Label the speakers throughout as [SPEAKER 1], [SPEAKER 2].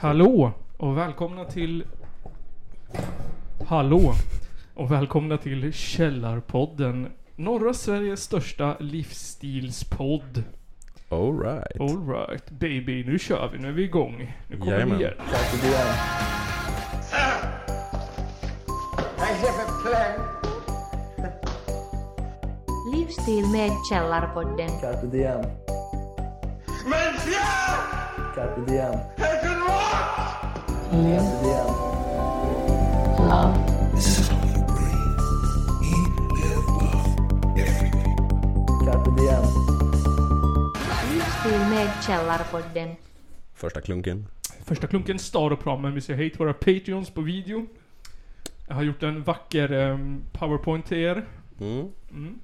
[SPEAKER 1] Hallå och välkomna till... Hallå och välkomna till Källarpodden. Norra Sveriges största livsstilspodd.
[SPEAKER 2] Alright.
[SPEAKER 1] Alright baby, nu kör vi. Nu är vi igång. Nu Oh, kommer
[SPEAKER 2] Jajamän.
[SPEAKER 1] vi igen.
[SPEAKER 3] I have a plan.
[SPEAKER 4] Livsstil med Källarpodden.
[SPEAKER 5] Carpe diem.
[SPEAKER 3] Men jag
[SPEAKER 5] Carpe diem.
[SPEAKER 3] tänker rock!
[SPEAKER 5] Carpe diem. Carpe diem.
[SPEAKER 4] Livsstil med Källarpodden.
[SPEAKER 2] Första klunken.
[SPEAKER 1] Första klunken Star och Pramen. Vi säger hej till våra Patreons på video. Jag har gjort en vacker em, powerpoint till er.
[SPEAKER 2] Mm.
[SPEAKER 1] Mm.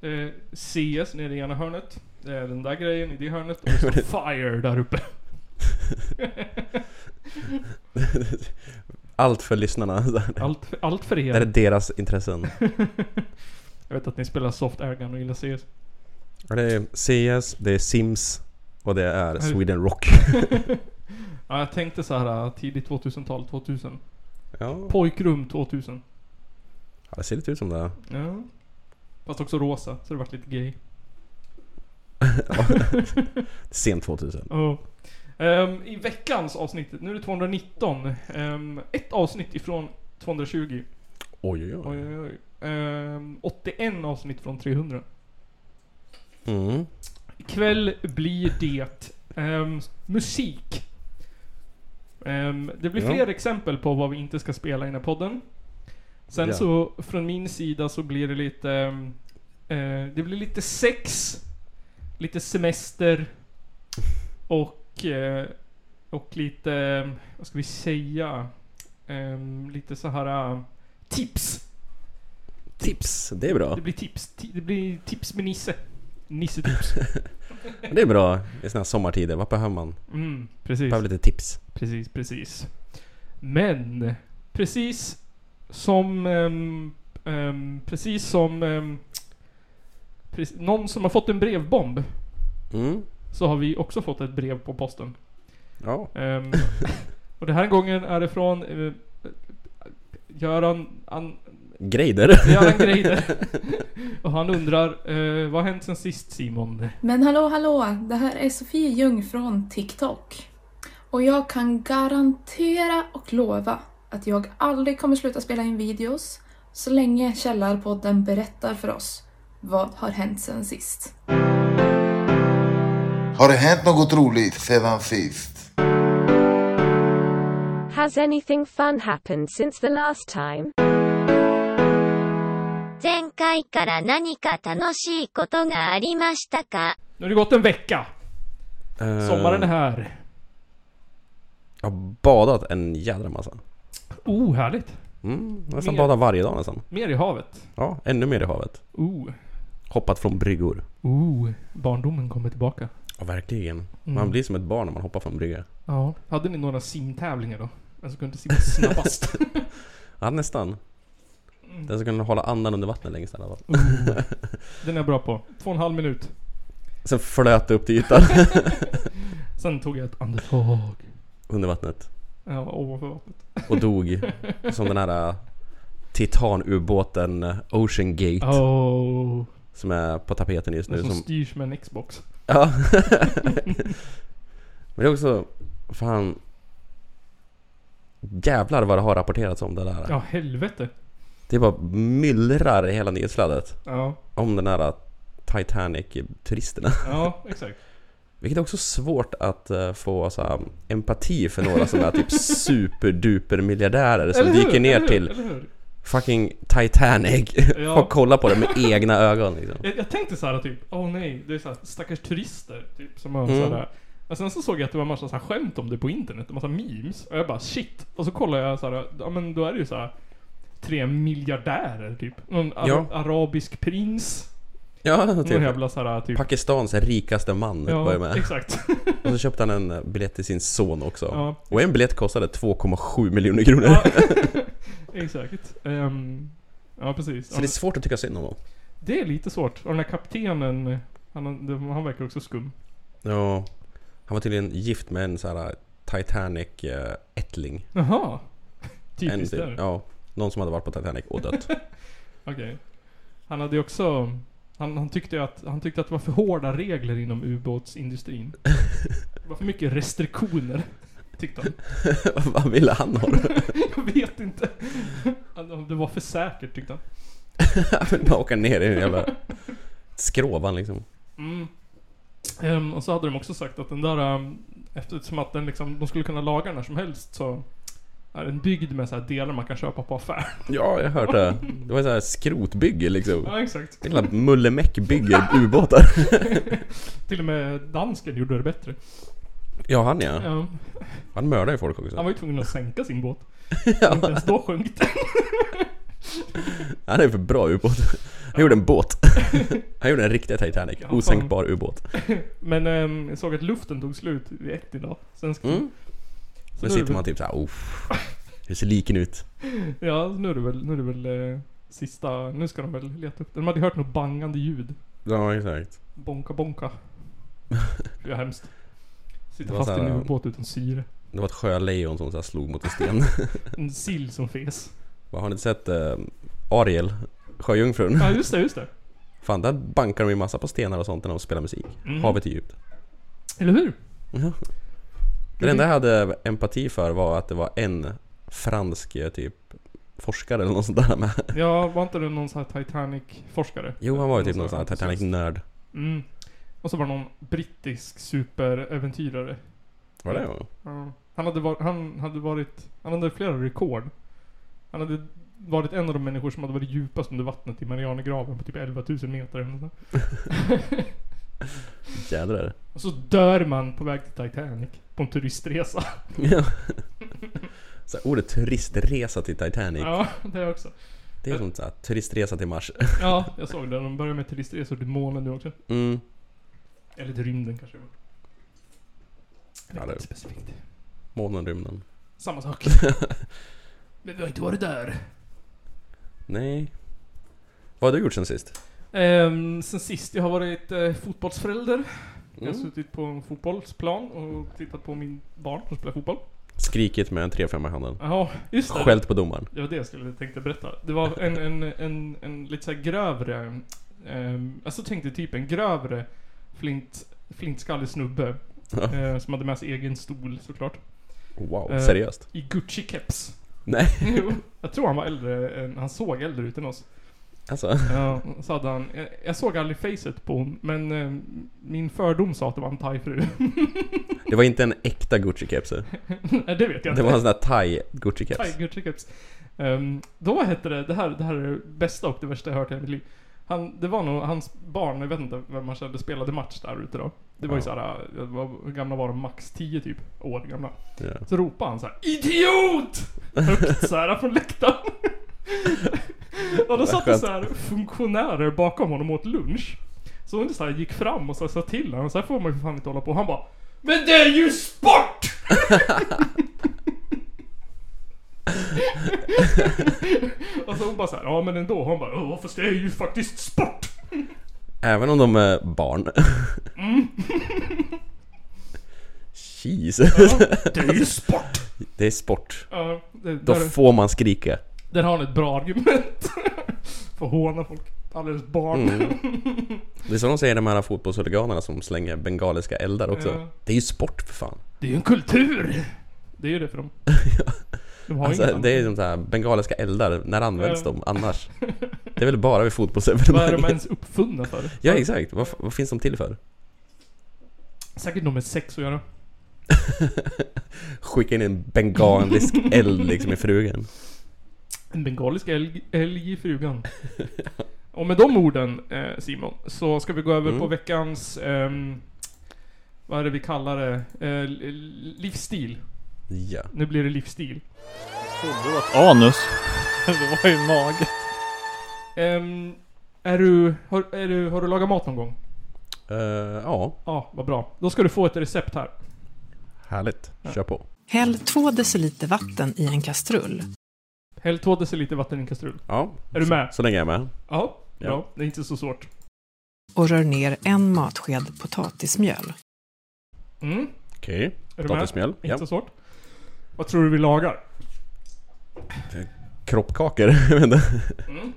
[SPEAKER 1] Eh, CS nere i ena hörnet. Det är den där grejen i det hörnet. Och så FIRE där uppe.
[SPEAKER 2] Allt för lyssnarna. Det
[SPEAKER 1] Allt, för- allt för
[SPEAKER 2] här är
[SPEAKER 1] er.
[SPEAKER 2] deras intressen.
[SPEAKER 1] Jag vet att ni spelar Soft Air Gun och gillar CS.
[SPEAKER 2] Ja, Det är CS, det är Sims och det är Sweden Rock.
[SPEAKER 1] Ja, jag tänkte så här äh, tidigt 2000-tal, 2000.
[SPEAKER 2] Ja,
[SPEAKER 1] Pojkrum 2000.
[SPEAKER 2] det ser lite ut som det.
[SPEAKER 1] Ja. Fast också rosa, så det vart lite gay.
[SPEAKER 2] Sent 2000.
[SPEAKER 1] Ja. Ehm, I veckans avsnitt, nu är det 219. Ehm, ett avsnitt ifrån 220.
[SPEAKER 2] Oj, oj,
[SPEAKER 1] Oj, oj,
[SPEAKER 2] oj.
[SPEAKER 1] oj. Ehm, 81 avsnitt från 300.
[SPEAKER 2] Mm.
[SPEAKER 1] Ikväll blir det ehm, musik. Ehm, det blir
[SPEAKER 2] Ja.
[SPEAKER 1] fler exempel på vad vi inte ska spela i den här podden. Sen
[SPEAKER 2] Ja.
[SPEAKER 1] så, från min sida så blir det lite... ehm, eh, det blir lite sex, lite semester och... eh, och lite... ehm, vad ska vi säga? Ehm, lite så här eh, tips.
[SPEAKER 2] Tips, det är bra.
[SPEAKER 1] Det blir tips. Ti- Det blir tips med Nisse. Nisse-tips.
[SPEAKER 2] Det är bra i såna här sommartider. Vad behöver man?
[SPEAKER 1] Mm, precis.
[SPEAKER 2] Behöver lite tips.
[SPEAKER 1] Precis, precis. Men, precis som... ehm, ehm, precis som... ehm, precis, någon som har fått en brevbomb,
[SPEAKER 2] Mm.
[SPEAKER 1] så har vi också fått ett brev på posten.
[SPEAKER 2] Ja.
[SPEAKER 1] Ehm, och den här gången är det från... eh, Göran... An,
[SPEAKER 2] Greider.
[SPEAKER 1] Göran Greider. och han undrar, eh, vad har hänt sen sist Simon?
[SPEAKER 6] Men hallå hallå, det här är Sofie Ljung från TikTok. Och jag kan garantera och lova att jag aldrig kommer sluta spela in videos så länge Källarpodden berättar för oss vad har hänt sen sist.
[SPEAKER 7] Har det hänt något roligt sedan sist?
[SPEAKER 8] Has anything fun happened since the last time?
[SPEAKER 9] 前回から何か楽しいことがありましたか
[SPEAKER 1] Nu har det gått en vecka.
[SPEAKER 2] Eh,
[SPEAKER 1] Sommaren är här.
[SPEAKER 2] Jag har badat en jädra massa.
[SPEAKER 1] Oh, härligt.
[SPEAKER 2] Mm. Nästan
[SPEAKER 1] Mer.
[SPEAKER 2] badar varje dag nästan.
[SPEAKER 1] Mer i havet.
[SPEAKER 2] Ja, ännu mer i havet.
[SPEAKER 1] Oh.
[SPEAKER 2] Hoppat från bryggor.
[SPEAKER 1] Oh, barndomen kommer tillbaka.
[SPEAKER 2] Ja, verkligen.
[SPEAKER 1] Mm.
[SPEAKER 2] Man blir som ett barn när man hoppar från brygga.
[SPEAKER 1] Ja. Hade ni några simtävlingar då? Den som kunde simma snabbast.
[SPEAKER 2] Ja, nästan.
[SPEAKER 1] Mm.
[SPEAKER 2] Den som kunde hålla andan under vattnet längst i alla fall.
[SPEAKER 1] Den är jag bra på. Två och en halv minut.
[SPEAKER 2] Sen flöt det upp till ytan.
[SPEAKER 1] Sen tog jag ett andetag.
[SPEAKER 2] under vattnet.
[SPEAKER 1] Ja, ovanför vattnet.
[SPEAKER 2] Och dog. Som den här äh, titanubåten äh, Ocean Gate.
[SPEAKER 1] Oh,
[SPEAKER 2] Som är på tapeten just
[SPEAKER 1] den
[SPEAKER 2] nu.
[SPEAKER 1] som,
[SPEAKER 2] Som,
[SPEAKER 1] styrs med en Xbox.
[SPEAKER 2] ja. Men det är också... Fan. Jävlar vad det har rapporterats om det där.
[SPEAKER 1] Ja, helvete.
[SPEAKER 2] Det bara myllrar i hela nyhetsflödet.
[SPEAKER 1] Ja,
[SPEAKER 2] Om den här äh, Titanic-turisterna.
[SPEAKER 1] ja exakt.
[SPEAKER 2] Vilket är också svårt att eh, få så här, empati för några som är typ superduper miljardärer som
[SPEAKER 1] Eller hur?
[SPEAKER 2] dyker ner
[SPEAKER 1] Eller hur?
[SPEAKER 2] till
[SPEAKER 1] Eller hur?
[SPEAKER 2] fucking Titanic
[SPEAKER 1] Ja.
[SPEAKER 2] och kollar på det med egna ögon liksom.
[SPEAKER 1] Jag, jag tänkte så här typ, åh oh, nej, det är så här, stackars turister. Typ, som har
[SPEAKER 2] Mm.
[SPEAKER 1] så här, men sen så såg jag att det var en massa så här skämt om det på internet, en massa memes. Och jag bara shit. Och så kollar jag så här, ja men då är det ju så här tre miljardärer typ. Någon ara-
[SPEAKER 2] Ja.
[SPEAKER 1] arabisk prins.
[SPEAKER 2] Ja,
[SPEAKER 1] Någon
[SPEAKER 2] typ.
[SPEAKER 1] jävla så här typ.
[SPEAKER 2] Pakistans rikaste man var ju med.
[SPEAKER 1] exakt.
[SPEAKER 2] Och så köpte han en eh, biljett till sin son också.
[SPEAKER 1] Ja.
[SPEAKER 2] Och en biljett kostade 2,7 miljoner kronor.
[SPEAKER 1] Ja. exakt. Ehm, ja precis.
[SPEAKER 2] Så
[SPEAKER 1] Ja,
[SPEAKER 2] det är svårt att tycka synd om honom.
[SPEAKER 1] men det är lite svårt. Och den här kaptenen, han, han verkar också skum.
[SPEAKER 2] Ja. Han var tydligen gift med en så här eh, Titanic-ättling.
[SPEAKER 1] Jaha.
[SPEAKER 2] En
[SPEAKER 1] Typiskt
[SPEAKER 2] till.
[SPEAKER 1] där.
[SPEAKER 2] Ja, någon som hade varit på Titanic och dött.
[SPEAKER 1] Okej. Han hade ju också... Han, han, tyckte ju att, han tyckte att det var för hårda regler inom ubåtsindustrin. Det var för mycket restriktioner. Tyckte han.
[SPEAKER 2] Vad ville han ha det?
[SPEAKER 1] Jag vet inte. Han- Det var för säkert tyckte han.
[SPEAKER 2] Han ville bara åka ner i den jävla skrovan liksom.
[SPEAKER 1] Mm. Ehm, och så hade de också sagt att den där, um, eftersom att den liksom, de skulle kunna laga den när som helst så är den byggd med så här delar man kan köpa på affär.
[SPEAKER 2] Ja, jag har hört det. Det var så här skrotbygge liksom.
[SPEAKER 1] ja, exakt.
[SPEAKER 2] Jävla mullemäck bygger ubåtar.
[SPEAKER 1] Till och med dansken gjorde det bättre.
[SPEAKER 2] Ja, han ja.
[SPEAKER 1] Ja,
[SPEAKER 2] Han mördar ju folk
[SPEAKER 1] han
[SPEAKER 2] också.
[SPEAKER 1] var ju tvungen att sänka sin båt. Inte ens då sjönk den.
[SPEAKER 2] Han är för bra ubåt. Han gjorde en båt. Han gjorde en riktig Titanic.
[SPEAKER 1] Ja, fan.
[SPEAKER 2] Osänkbar ubåt.
[SPEAKER 1] Men ehm, jag såg att luften tog slut vid ett idag. Sen ska,
[SPEAKER 2] Mm.
[SPEAKER 1] så nu
[SPEAKER 2] Nu
[SPEAKER 1] är det
[SPEAKER 2] sitter
[SPEAKER 1] väl-
[SPEAKER 2] man typ såhär, uff. Hur ser liken ut?
[SPEAKER 1] Ja, nu är det väl, nu är det väl eh, sista... Nu ska de väl leta upp den. De hade ju hört något bangande ljud.
[SPEAKER 2] Ja, exakt.
[SPEAKER 1] Bonka, bonka. Det är hemskt.
[SPEAKER 2] Det
[SPEAKER 1] Sitta
[SPEAKER 2] var
[SPEAKER 1] fast i
[SPEAKER 2] så här- eh,
[SPEAKER 1] en ubåt utan syre.
[SPEAKER 2] Det var ett sjölejon som så här slog mot en sten.
[SPEAKER 1] En sill som fes.
[SPEAKER 2] Vad, Har ni inte sett eh, Ariel? Sjöjungfrun?
[SPEAKER 1] Ja, just det, just det.
[SPEAKER 2] Fan, där bankar de ju massa på stenar och sånt när de spelar musik.
[SPEAKER 1] Mm.
[SPEAKER 2] Havet är djupt.
[SPEAKER 1] Eller hur?
[SPEAKER 2] Ja. Det enda jag hade empati för var att det var en fransk eh, typ forskare eller något sånt där med.
[SPEAKER 1] Ja, var inte det någon sån här Titanic-forskare?
[SPEAKER 2] Jo, han var ju typ någon
[SPEAKER 1] sån
[SPEAKER 2] sån
[SPEAKER 1] här
[SPEAKER 2] här Titanic-nörd.
[SPEAKER 1] Mm. Och så var det någon brittisk superäventyrare.
[SPEAKER 2] Var det? ja?
[SPEAKER 1] Ja. Han hade, var, han hade varit... Han hade flera rekord. Han hade varit en av de människor som hade varit djupast under vattnet i Marianergraven på typ 11 000 meter eller något sånt.
[SPEAKER 2] Jädrar.
[SPEAKER 1] Och så dör man på väg till Titanic. På en turistresa.
[SPEAKER 2] Ja. Så här, ordet turistresa till Titanic.
[SPEAKER 1] Ja, det också.
[SPEAKER 2] Det är som såhär turistresa till Mars.
[SPEAKER 1] Ja, jag såg det. De börjar med turistresor till månen nu också.
[SPEAKER 2] Mm.
[SPEAKER 1] Eller till rymden kanske.
[SPEAKER 2] Ja,
[SPEAKER 1] Ja,
[SPEAKER 2] det-
[SPEAKER 1] det specifikt.
[SPEAKER 2] Månen, rymden.
[SPEAKER 1] Samma sak. Men vi har inte varit där.
[SPEAKER 2] Nej. Vad har du gjort sen sist?
[SPEAKER 1] Ehm, sen sist, jag har varit eh, fotbollsförälder. Jag har
[SPEAKER 2] Mm.
[SPEAKER 1] suttit på en fotbollsplan och tittat på min barn som spelar fotboll.
[SPEAKER 2] Skrikit med en 3-5 i handen.
[SPEAKER 1] Jaha, just det.
[SPEAKER 2] Skällt på domaren.
[SPEAKER 1] Det var det jag skulle tänkte berätta. Det var en, en, en, en lite så här grövre, ehm, alltså tänkte typ en grövre flint, flintskallig snubbe.
[SPEAKER 2] Ja.
[SPEAKER 1] eh, som hade med sig egen stol såklart.
[SPEAKER 2] Wow,
[SPEAKER 1] Eh.
[SPEAKER 2] seriöst?
[SPEAKER 1] I Gucci-keps.
[SPEAKER 2] Nej,
[SPEAKER 1] Jo, jag tror han var äldre än, han såg äldre ut än oss.
[SPEAKER 2] alltså.
[SPEAKER 1] Ja, så hade han, jag, jag såg aldrig facet på hon, men eh, min fördom sa att det var en thaifru.
[SPEAKER 2] Det var inte en äkta Gucci-keps.
[SPEAKER 1] Nej, det vet jag
[SPEAKER 2] Det
[SPEAKER 1] inte.
[SPEAKER 2] var en sån där thai Gucci-keps.
[SPEAKER 1] Tiger Chickens. Um, då hette det, det här, det här är det bästa och det värsta jag hört i hela mitt liv. Han, det var nog hans barn, jag vet inte vem han kände, spelade match där ute då. Det var ju
[SPEAKER 2] Ja.
[SPEAKER 1] såhär, eh, vad- hur gamla var de? Max 10 typ, år gamla.
[SPEAKER 2] Ja.
[SPEAKER 1] Så ropade han så här: IDIOT! Högt såhär från läktaren. och då satt det
[SPEAKER 2] skönt.
[SPEAKER 1] såhär funktionärer bakom honom och åt lunch. Så hon så här gick fram och så här sa till honom, så här får man ju för fan inte hålla på. Han bara Men det är ju sport! och så hon bara såhär, ja men ändå. Han bara, ja fast det är ju faktiskt sport!
[SPEAKER 2] Även om de är barn.
[SPEAKER 1] Mm.
[SPEAKER 2] Jesus.
[SPEAKER 1] Det är ju sport!
[SPEAKER 2] Det är sport.
[SPEAKER 1] Ja, det,
[SPEAKER 2] Då
[SPEAKER 1] där,
[SPEAKER 2] får man skrika.
[SPEAKER 1] där har han ett bra argument. För att håna folk. Alldeles barn.
[SPEAKER 2] Mm. Det är så de säger de här fotbollshuliganerna som slänger bengaliska eldar också.
[SPEAKER 1] Ja.
[SPEAKER 2] Det är ju sport för fan.
[SPEAKER 1] Det är ju en kultur! Det är ju det för dem. De har inget
[SPEAKER 2] Alltså,
[SPEAKER 1] annat.
[SPEAKER 2] det är ju de här bengaliska eldar, när används
[SPEAKER 1] Ja.
[SPEAKER 2] de annars? Det är väl
[SPEAKER 1] Vad
[SPEAKER 2] bara vid
[SPEAKER 1] är de
[SPEAKER 2] fotbollsevenemang?
[SPEAKER 1] ens uppfunna för?
[SPEAKER 2] Ja exakt, vad, f- vad finns de till för?
[SPEAKER 1] Säkert något med sex att göra.
[SPEAKER 2] Skicka in en bengalisk eld liksom i frugan.
[SPEAKER 1] En bengalisk älg, älg i frugan. Och med de orden, eh, Simon, så ska vi gå över
[SPEAKER 2] Mm.
[SPEAKER 1] på veckans... ehm, vad är det vi kallar det? Eh, li- li- livsstil.
[SPEAKER 2] Ja.
[SPEAKER 1] Nu blir det livsstil.
[SPEAKER 10] Anus. Det var ju mage.
[SPEAKER 1] Ehm, är du, har, är du, har du lagat mat någon gång?
[SPEAKER 2] Eh, ja,
[SPEAKER 1] Ja, vad bra. Då ska du få ett recept här.
[SPEAKER 2] härligt. Kör på.
[SPEAKER 11] Häll 2 deciliter vatten i en kastrull.
[SPEAKER 1] Häll två deciliter vatten i en kastrull.
[SPEAKER 2] Ja,
[SPEAKER 1] Är du med?
[SPEAKER 2] så länge jag är med.
[SPEAKER 1] Ja,
[SPEAKER 2] Ja.
[SPEAKER 1] bra. Det är inte så svårt.
[SPEAKER 11] och rör ner en matsked potatismjöl.
[SPEAKER 1] Mm.
[SPEAKER 2] Okej.
[SPEAKER 1] Är du
[SPEAKER 2] Potatismjöl,
[SPEAKER 1] med?
[SPEAKER 2] ja.
[SPEAKER 1] Inte svårt. Vad tror du vi lagar?
[SPEAKER 2] Kroppkakor, jag vet inte.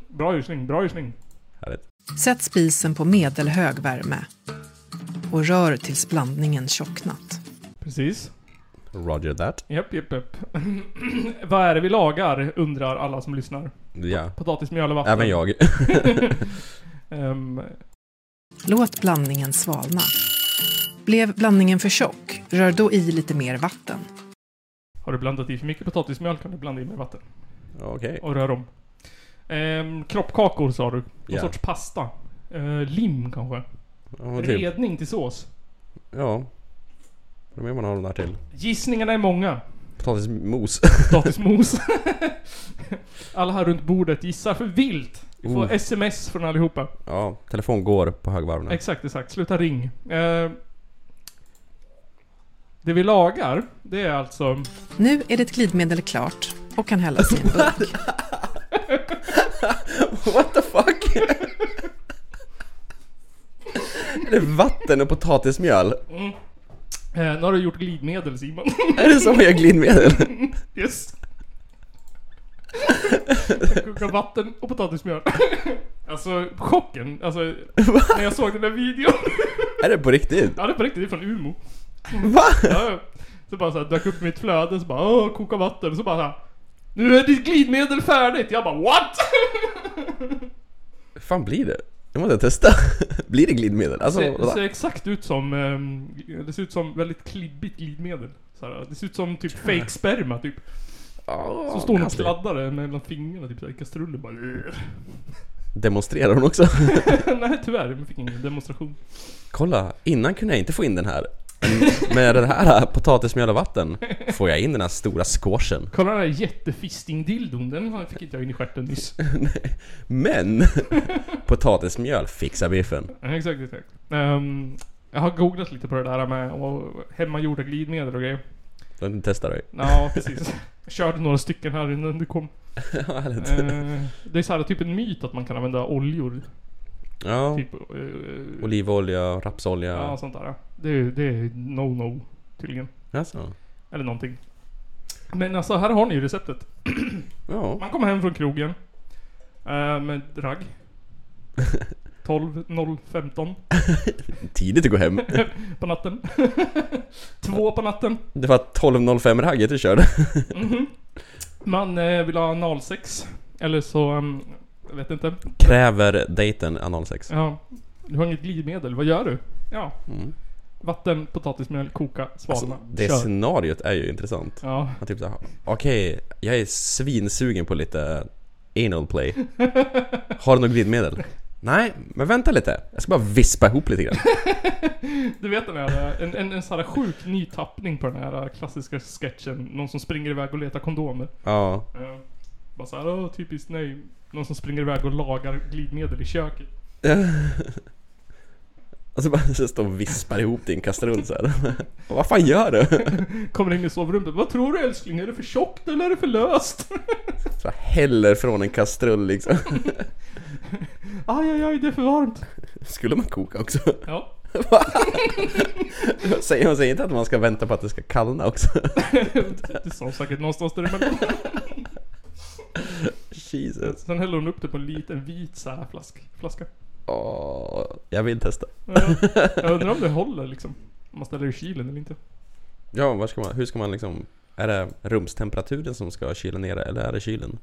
[SPEAKER 1] Bra gissning, bra gissning.
[SPEAKER 2] Härligt.
[SPEAKER 11] Sätt spisen på medelhög värme och rör tills blandningen tjocknat.
[SPEAKER 1] Precis.
[SPEAKER 2] Roger that.
[SPEAKER 1] Japp, japp, japp. Vad är det vi lagar? Undrar alla som lyssnar.
[SPEAKER 2] Ja.
[SPEAKER 1] Potatismjöl och vatten.
[SPEAKER 2] Även jag.
[SPEAKER 1] Ehm,
[SPEAKER 11] Låt blandningen svalna. Blev blandningen för tjock, rör då i lite mer vatten.
[SPEAKER 1] har du blandat i för mycket potatismjöl kan du blanda i mer vatten.
[SPEAKER 2] Okej.
[SPEAKER 1] Och rör om. Um, kroppkakor sa du. Någon
[SPEAKER 2] Ja.
[SPEAKER 1] sorts pasta. Eh, lim kanske.
[SPEAKER 2] Ja, men typ.
[SPEAKER 1] Redning till sås.
[SPEAKER 2] Ja. Vad mer man har de där till?
[SPEAKER 1] Gissningarna är många.
[SPEAKER 2] Potatismos.
[SPEAKER 1] Potatismos. alla här runt bordet gissar för vilt. Vi får
[SPEAKER 2] Oh.
[SPEAKER 1] sms från allihopa.
[SPEAKER 2] Ja, telefon går på högvarv nu.
[SPEAKER 1] Exakt, exakt. Sluta ring. Eh, det vi lagar, det är alltså...
[SPEAKER 11] Nu är ditt glidmedel klart och kan hällas i en burk.
[SPEAKER 2] What the fuck? är det vatten och potatismjöl?
[SPEAKER 1] Eh, nu har du gjort glidmedel Simon.
[SPEAKER 2] Är det så man gör glidmedel?
[SPEAKER 1] yes. Koka vatten och potatismjöl. alltså chocken. Alltså när jag såg den där videon.
[SPEAKER 2] är det på riktigt?
[SPEAKER 1] ja det är på riktigt, det är från Umo.
[SPEAKER 2] Va?
[SPEAKER 1] Ja, ja. så bara så här, dök upp mitt flöde så bara åh, koka vatten. Så bara så här, nu är ditt glidmedel färdigt. Jag bara what?
[SPEAKER 2] Hur fan blir det? Nu måste jag testa. blir det glidmedel? Alltså,
[SPEAKER 1] Det
[SPEAKER 2] va?
[SPEAKER 1] ser exakt ut som, ehm, det ser ut som väldigt klibbigt glidmedel. Så här, det ser ut som typ fake sperma typ.
[SPEAKER 2] Ja,
[SPEAKER 1] Så står hon och
[SPEAKER 2] nasty.
[SPEAKER 1] sladdar det mellan fingrarna typ så här, i kastrullen bara "Ugh."
[SPEAKER 2] Demonstrerar hon också?
[SPEAKER 1] Nej tyvärr, jag fick ingen demonstration.
[SPEAKER 2] Kolla, innan kunde jag inte få in den här. Men Med det här potatismjöl och vatten får jag in den här stora squashen.
[SPEAKER 1] Kolla den här jättefisting-dildon, den fick inte jag in i stjärten nyss.
[SPEAKER 2] Men potatismjöl fixar biffen.
[SPEAKER 1] Ja, exakt, exakt. Ehm, jag har googlat lite på det där med och hemmagjorda glidmedel och grejer.
[SPEAKER 2] Den testar du.
[SPEAKER 1] Ja, precis. Jag körde några stycken här innan du kom.
[SPEAKER 2] Ja, härligt.
[SPEAKER 1] Eh, det är så här typ en myt att man kan använda oljor.
[SPEAKER 2] Ja,
[SPEAKER 1] Typ... eh,
[SPEAKER 2] olivolja, rapsolja.
[SPEAKER 1] Ja, sånt där. ja. Det är, det är no-no, tydligen.
[SPEAKER 2] Alltså.
[SPEAKER 1] Eller någonting. Men alltså, här har ni ju receptet.
[SPEAKER 2] Ja.
[SPEAKER 1] Man kommer hem från krogen. eh, med ragg. 12.015
[SPEAKER 2] Tidigt att gå hem.
[SPEAKER 1] på natten. Två på natten.
[SPEAKER 2] Det var 12.05 ragget du körde.
[SPEAKER 1] Man eh, vill ha analsex. Eller så... ehm, jag vet inte.
[SPEAKER 2] Kräver dejten analsex.
[SPEAKER 1] Ja. Du har inget glidmedel. Vad gör du? Ja.
[SPEAKER 2] Mm.
[SPEAKER 1] Vatten, potatismjöl, koka, svalna.
[SPEAKER 2] Alltså, det
[SPEAKER 1] Kör.
[SPEAKER 2] scenariot är ju intressant.
[SPEAKER 1] Ja.
[SPEAKER 2] Man typ såhär, okej, jag är svinsugen på lite anal play. Har du något glidmedel? Nej, men vänta lite. Jag ska bara vispa ihop lite grann.
[SPEAKER 1] Du vet den här, en, en, en sån här sjuk ny tappning på den här klassiska sketchen. Någon som springer iväg och letar kondomer.
[SPEAKER 2] Ja,
[SPEAKER 1] Eh, Bara såhär, åh typiskt nej. Någon som springer iväg och lagar glidmedel i köket.
[SPEAKER 2] Och så bara så står och vispar ihop din kastrull så här. Vad fan gör du?
[SPEAKER 1] Kommer in i sovrummet, vad tror du älskling? Är det för tjockt eller är det för löst?
[SPEAKER 2] Så häller från en kastrull liksom.
[SPEAKER 1] Aj, aj, aj, det är för varmt.
[SPEAKER 2] Skulle man koka också?
[SPEAKER 1] Ja.
[SPEAKER 2] Säger man säger inte att man ska vänta på att det ska kallna också?
[SPEAKER 1] Det sa säkert någonstans däremellan.
[SPEAKER 2] Jesus.
[SPEAKER 1] Sen häller hon upp det på en liten vit så här flask, flaska.
[SPEAKER 2] Åh, jag vill testa.
[SPEAKER 1] Ja. Jag undrar om det håller liksom. Om man ställer det i kylen eller inte.
[SPEAKER 2] Ja, var ska man, hur ska man liksom... Är det rumstemperaturen som ska kyla ner det, eller är det kylen?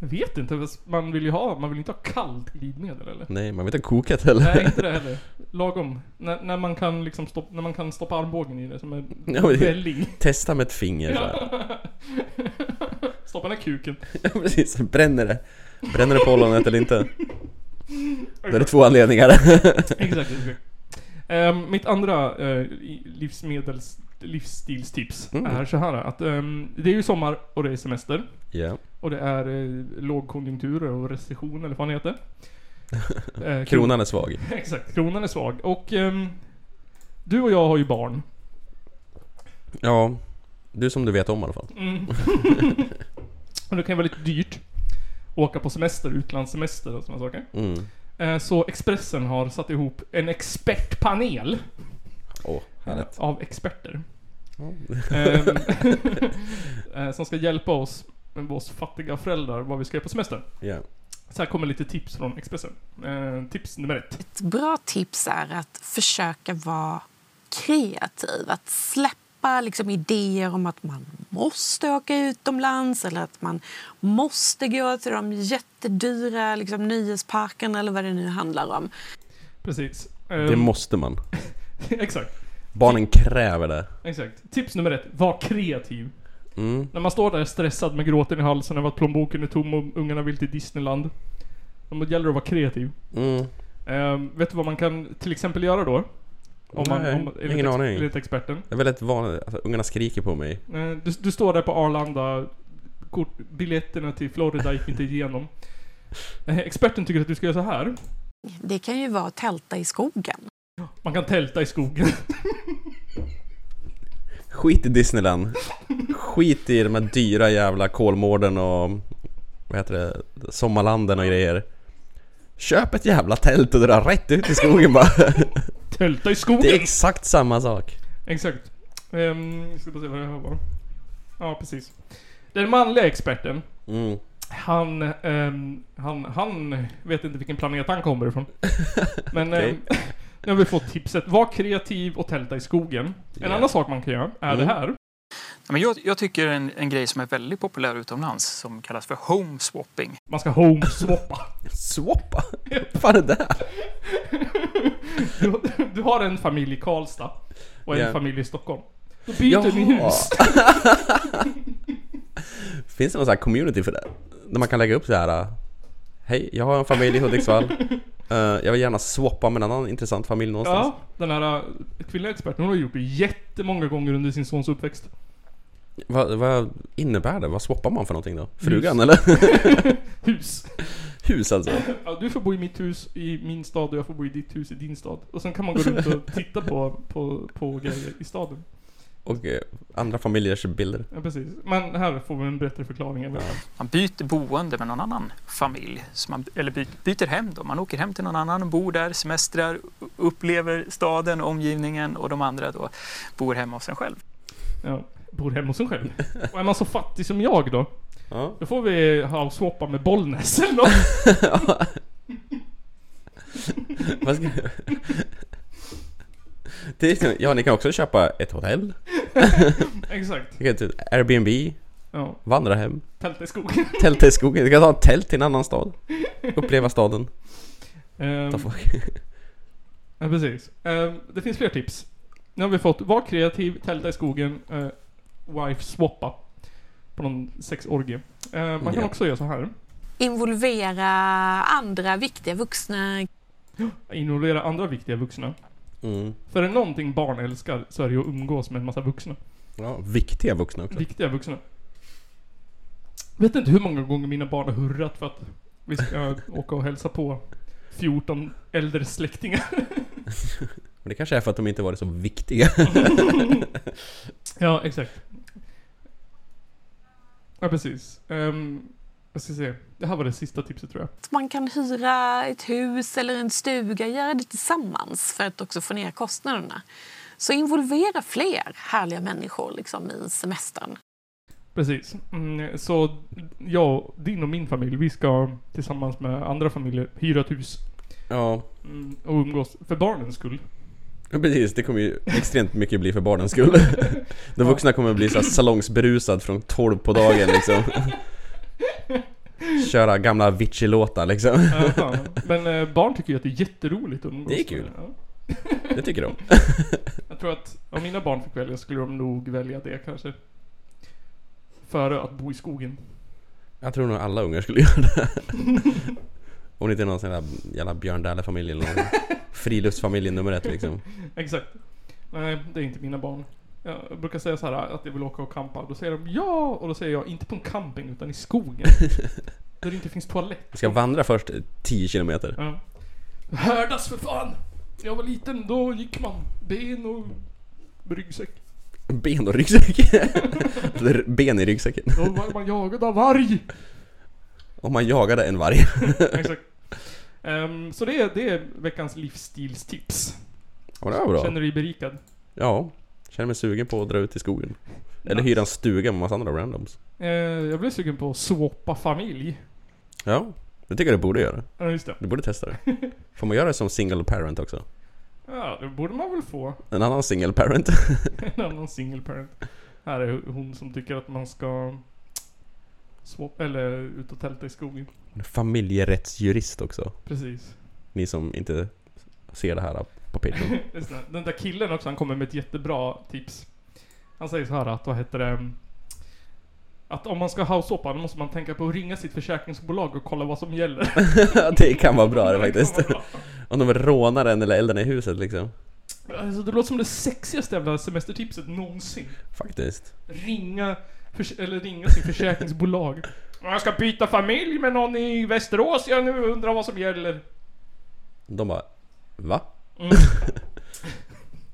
[SPEAKER 1] Jag vet inte, fast man vill ju ha, man vill inte ha kallt glidmedel eller?
[SPEAKER 2] Nej, man vet inte kokat heller.
[SPEAKER 1] Nej, inte det heller. Lagom. När, när man kan liksom stoppa, när man kan stoppa armbågen i det som en
[SPEAKER 2] Ja, men det-
[SPEAKER 1] välling.
[SPEAKER 2] Testa med ett finger så här.
[SPEAKER 1] Stoppa den här kuken.
[SPEAKER 2] Ja, precis. Bränner det? Bränner det pollonet eller inte? Då är det två anledningar.
[SPEAKER 1] Exakt, exakt. Ehm, mitt andra eh, i- livsmedels, livsstilstips
[SPEAKER 2] Mm.
[SPEAKER 1] är så här att ehm, det är ju sommar och det är semester.
[SPEAKER 2] Ja.
[SPEAKER 1] Och det är eh, lågkonjunkturer och recession eller vad fan det heter. Eh, kron-
[SPEAKER 2] Kronan är svag.
[SPEAKER 1] Exakt, kronan är svag. Och ehm, du och jag har ju barn.
[SPEAKER 2] Ja. Du som du vet om i alla fall.
[SPEAKER 1] Mm. och det kan ju vara lite dyrt. Åka på semester, utlandssemester och sådana saker.
[SPEAKER 2] Mm.
[SPEAKER 1] Eh, Så Expressen har satt ihop en expertpanel eh,
[SPEAKER 2] Åh, härligt.
[SPEAKER 1] av experter. Ehm, eh, som ska hjälpa oss, oss fattiga föräldrar, vad vi ska göra på semestern.
[SPEAKER 2] Ja.
[SPEAKER 1] Så här kommer lite tips från Expressen. Eh, tips nummer ett.
[SPEAKER 12] Ett bra tips är att försöka vara kreativ. Att släppa liksom idéer om att man måste åka utomlands eller att man måste gå till de jättedyra liksom, nöjesparkerna eller vad det nu handlar om.
[SPEAKER 1] Precis. Ehm,
[SPEAKER 2] Det måste man.
[SPEAKER 1] Exakt.
[SPEAKER 2] Barnen kräver det.
[SPEAKER 1] Exakt. Tips nummer ett. Var kreativ.
[SPEAKER 2] Mm.
[SPEAKER 1] När man står där stressad med gråten i halsen över att plånboken är tom och ungarna vill till Disneyland. Då gäller det att vara kreativ.
[SPEAKER 2] Mm.
[SPEAKER 1] Ehm, vet du vad man kan till exempel göra då? Om man,
[SPEAKER 2] Nej,
[SPEAKER 1] om, man- enligt
[SPEAKER 2] ingen
[SPEAKER 1] ex-
[SPEAKER 2] aning.
[SPEAKER 1] Enligt experten.
[SPEAKER 2] Det är väldigt vanligt, alltså, ungarna skriker på mig.
[SPEAKER 1] Eh, Du, du står där på Arlanda. Kort, biljetterna till Florida gick inte igenom. Eh, Experten tycker att du ska göra så här.
[SPEAKER 12] Det kan ju vara att tälta i skogen.
[SPEAKER 1] Man kan tälta i skogen.
[SPEAKER 2] Skit i Disneyland. Skit i de här dyra jävla Kolmården och vad heter det, Sommarlanden och grejer. Köp ett jävla tält och dra rätt ut i skogen bara.
[SPEAKER 1] Tälta i skogen?
[SPEAKER 2] Det är exakt samma sak.
[SPEAKER 1] Exakt. Um, jag ska bara se vad det här var. Ja, precis. Den manliga experten.
[SPEAKER 2] Mm.
[SPEAKER 1] Han, ehm, han, han vet inte vilken planet han kommer ifrån. Men
[SPEAKER 2] Okej.
[SPEAKER 1] ehm, nu har vi fått tipset. Var kreativ och tälta i skogen. En
[SPEAKER 13] Ja.
[SPEAKER 1] annan sak man kan göra är
[SPEAKER 13] Mm.
[SPEAKER 1] det här.
[SPEAKER 13] Ja, Men jag, jag tycker en, en grej som är väldigt populär utomlands som kallas för home swapping.
[SPEAKER 1] Man ska home-swappa.
[SPEAKER 2] Swappa? Vad fan är det här?
[SPEAKER 1] Du, du har en familj i Karlstad och en
[SPEAKER 2] Ja.
[SPEAKER 1] familj i Stockholm. Då byter ni
[SPEAKER 2] Jaha.
[SPEAKER 1] hus.
[SPEAKER 2] Finns det någon sån här community för det? Där man kan lägga upp så här. äh, Hej, jag har en familj i Hudiksvall. Eh, jag vill gärna swappa med en annan intressant familj någonstans.
[SPEAKER 1] ja, den här äh, kvinnliga experten hon har gjort det jättemånga gånger under sin sons uppväxt.
[SPEAKER 2] Vad, vad innebär det? Vad swappar man för någonting då? Frugan
[SPEAKER 1] Hus.
[SPEAKER 2] eller?
[SPEAKER 1] hus.
[SPEAKER 2] Hus alltså?
[SPEAKER 1] Ja, du får bo i mitt hus i min stad och jag får bo i ditt hus i din stad. Och sen kan man gå runt och titta på, på, på grejer i staden.
[SPEAKER 2] Och eh, andra familjers bilder.
[SPEAKER 1] Ja, precis. Men här får vi en bättre förklaring. än vad jag-
[SPEAKER 13] Man byter boende med någon annan familj. Så man, eller byter, byter hem då. Man åker hem till någon annan, bor där, semestrar, u- upplever staden, omgivningen och de andra då bor hemma hos en själv.
[SPEAKER 1] Ja, bor hemma hos en själv. Och är man så fattig som jag då?
[SPEAKER 2] Ja.
[SPEAKER 1] Då får vi ha swappa med Bollnäs eller något.
[SPEAKER 2] Vad ska... Det är liksom- ja, ni kan också köpa ett hotell.
[SPEAKER 1] Exakt.
[SPEAKER 2] Ni kan typ Airbnb.
[SPEAKER 1] Ja.
[SPEAKER 2] Vandra hem.
[SPEAKER 1] Tälta i skogen.
[SPEAKER 2] Tälta i skogen. Du kan ta ett tält till en annan stad. Uppleva staden.
[SPEAKER 1] Ehm,
[SPEAKER 2] The fuck?
[SPEAKER 1] ja, precis. Ehm, det finns fler tips. Nu har vi fått var kreativ, tälta i skogen, eh, wife swappa. På någon sexorgie. Eh, man kan
[SPEAKER 12] Ja.
[SPEAKER 1] också göra så här.
[SPEAKER 12] Involvera andra viktiga vuxna.
[SPEAKER 1] Involvera andra viktiga vuxna.
[SPEAKER 2] Mm.
[SPEAKER 1] För är det någonting barn älskar så är det ju att umgås med en massa vuxna.
[SPEAKER 2] Ja, viktiga vuxna också.
[SPEAKER 1] Viktiga vuxna. Vet inte hur många gånger mina barn har hurrat för att vi ska åka och hälsa på 14 äldre släktingar.
[SPEAKER 2] Men det kanske är för att de inte varit så viktiga.
[SPEAKER 1] ja, exakt. Ja, precis. Ehm, jag ska se. Det här var det sista tipset tror jag.
[SPEAKER 12] Att Man kan hyra ett hus eller en stuga, göra det tillsammans för att också få ner kostnaderna. Så involvera fler härliga människor liksom, i semestern.
[SPEAKER 1] Precis. Mm, så jag, din och min familj, vi ska tillsammans med andra familjer hyra ett hus.
[SPEAKER 2] Ja.
[SPEAKER 1] Mm, och umgås. För barnens skull.
[SPEAKER 2] Ja, Precis, det kommer ju extremt mycket bli för barnens skull. De vuxna kommer bli så här salongsberusad från 12 på dagen liksom. Köra gamla Avicii-låtar liksom.
[SPEAKER 1] Ja, Äh, fan. Men eh, barn tycker ju att det är jätteroligt att umgås
[SPEAKER 2] Det är kul.
[SPEAKER 1] med.
[SPEAKER 2] Det tycker de.
[SPEAKER 1] Jag tror att om mina barn fick välja skulle de nog välja det kanske. Före att bo i skogen.
[SPEAKER 2] Jag tror nog alla ungar skulle göra det. Om det inte är någon sån där jävla Björn Dähler-familj eller någon friluftsfamiljen nummer ett liksom.
[SPEAKER 1] Exakt. Nej, det är inte mina barn. Jag brukar säga så här att jag vill åka och campa. Då säger de ja, och då säger jag inte på en camping utan i skogen. där det inte finns toalett.
[SPEAKER 2] Vi ska vandra först 10 kilometer.
[SPEAKER 1] Ja. Härdas för fan! När jag var liten då gick man ben och ryggsäck.
[SPEAKER 2] Ben och ryggsäck. Eller Ben i ryggsäcken.
[SPEAKER 1] Då var man jagad av varg.
[SPEAKER 2] Om man jagade en varg.
[SPEAKER 1] Exakt. Ehm, så det är, det är veckans livsstilstips.
[SPEAKER 2] Ja, det var bra.
[SPEAKER 1] Känner du dig berikad?
[SPEAKER 2] Ja, Känner mig sugen på att dra ut i skogen. Eller
[SPEAKER 1] Nice.
[SPEAKER 2] hyra en stuga med massa andra randoms.
[SPEAKER 1] Eh, jag blev sugen på att swappa familj.
[SPEAKER 2] Ja, det tycker jag du borde göra.
[SPEAKER 1] Ja, just det.
[SPEAKER 2] Du borde testa det. Får man göra det som single parent också?
[SPEAKER 1] Ja, det borde man väl få.
[SPEAKER 2] En annan single parent.
[SPEAKER 1] En annan single parent. Här är hon som tycker att man ska swap, eller ut och tälta i skogen.
[SPEAKER 2] Familjerättsjurist också.
[SPEAKER 1] Precis.
[SPEAKER 2] Ni som inte ser det här på Patreon.
[SPEAKER 1] Just det. Den där killen också, han kommer med ett jättebra tips. Han säger så här att, vad heter det? Att om man ska househoppa, då måste man tänka på att ringa sitt försäkringsbolag och kolla vad som gäller.
[SPEAKER 2] det kan vara bra det faktiskt. Om de rånar en eller elden i huset liksom.
[SPEAKER 1] Alltså, det låter som det sexigaste jävla semestertipset någonsin.
[SPEAKER 2] Faktiskt.
[SPEAKER 1] Ringa, förs- eller ringa sin försäkringsbolag. Jag ska byta familj med någon i Västerås, jag nu undrar vad som gäller.
[SPEAKER 2] De bara Va?
[SPEAKER 1] Mm.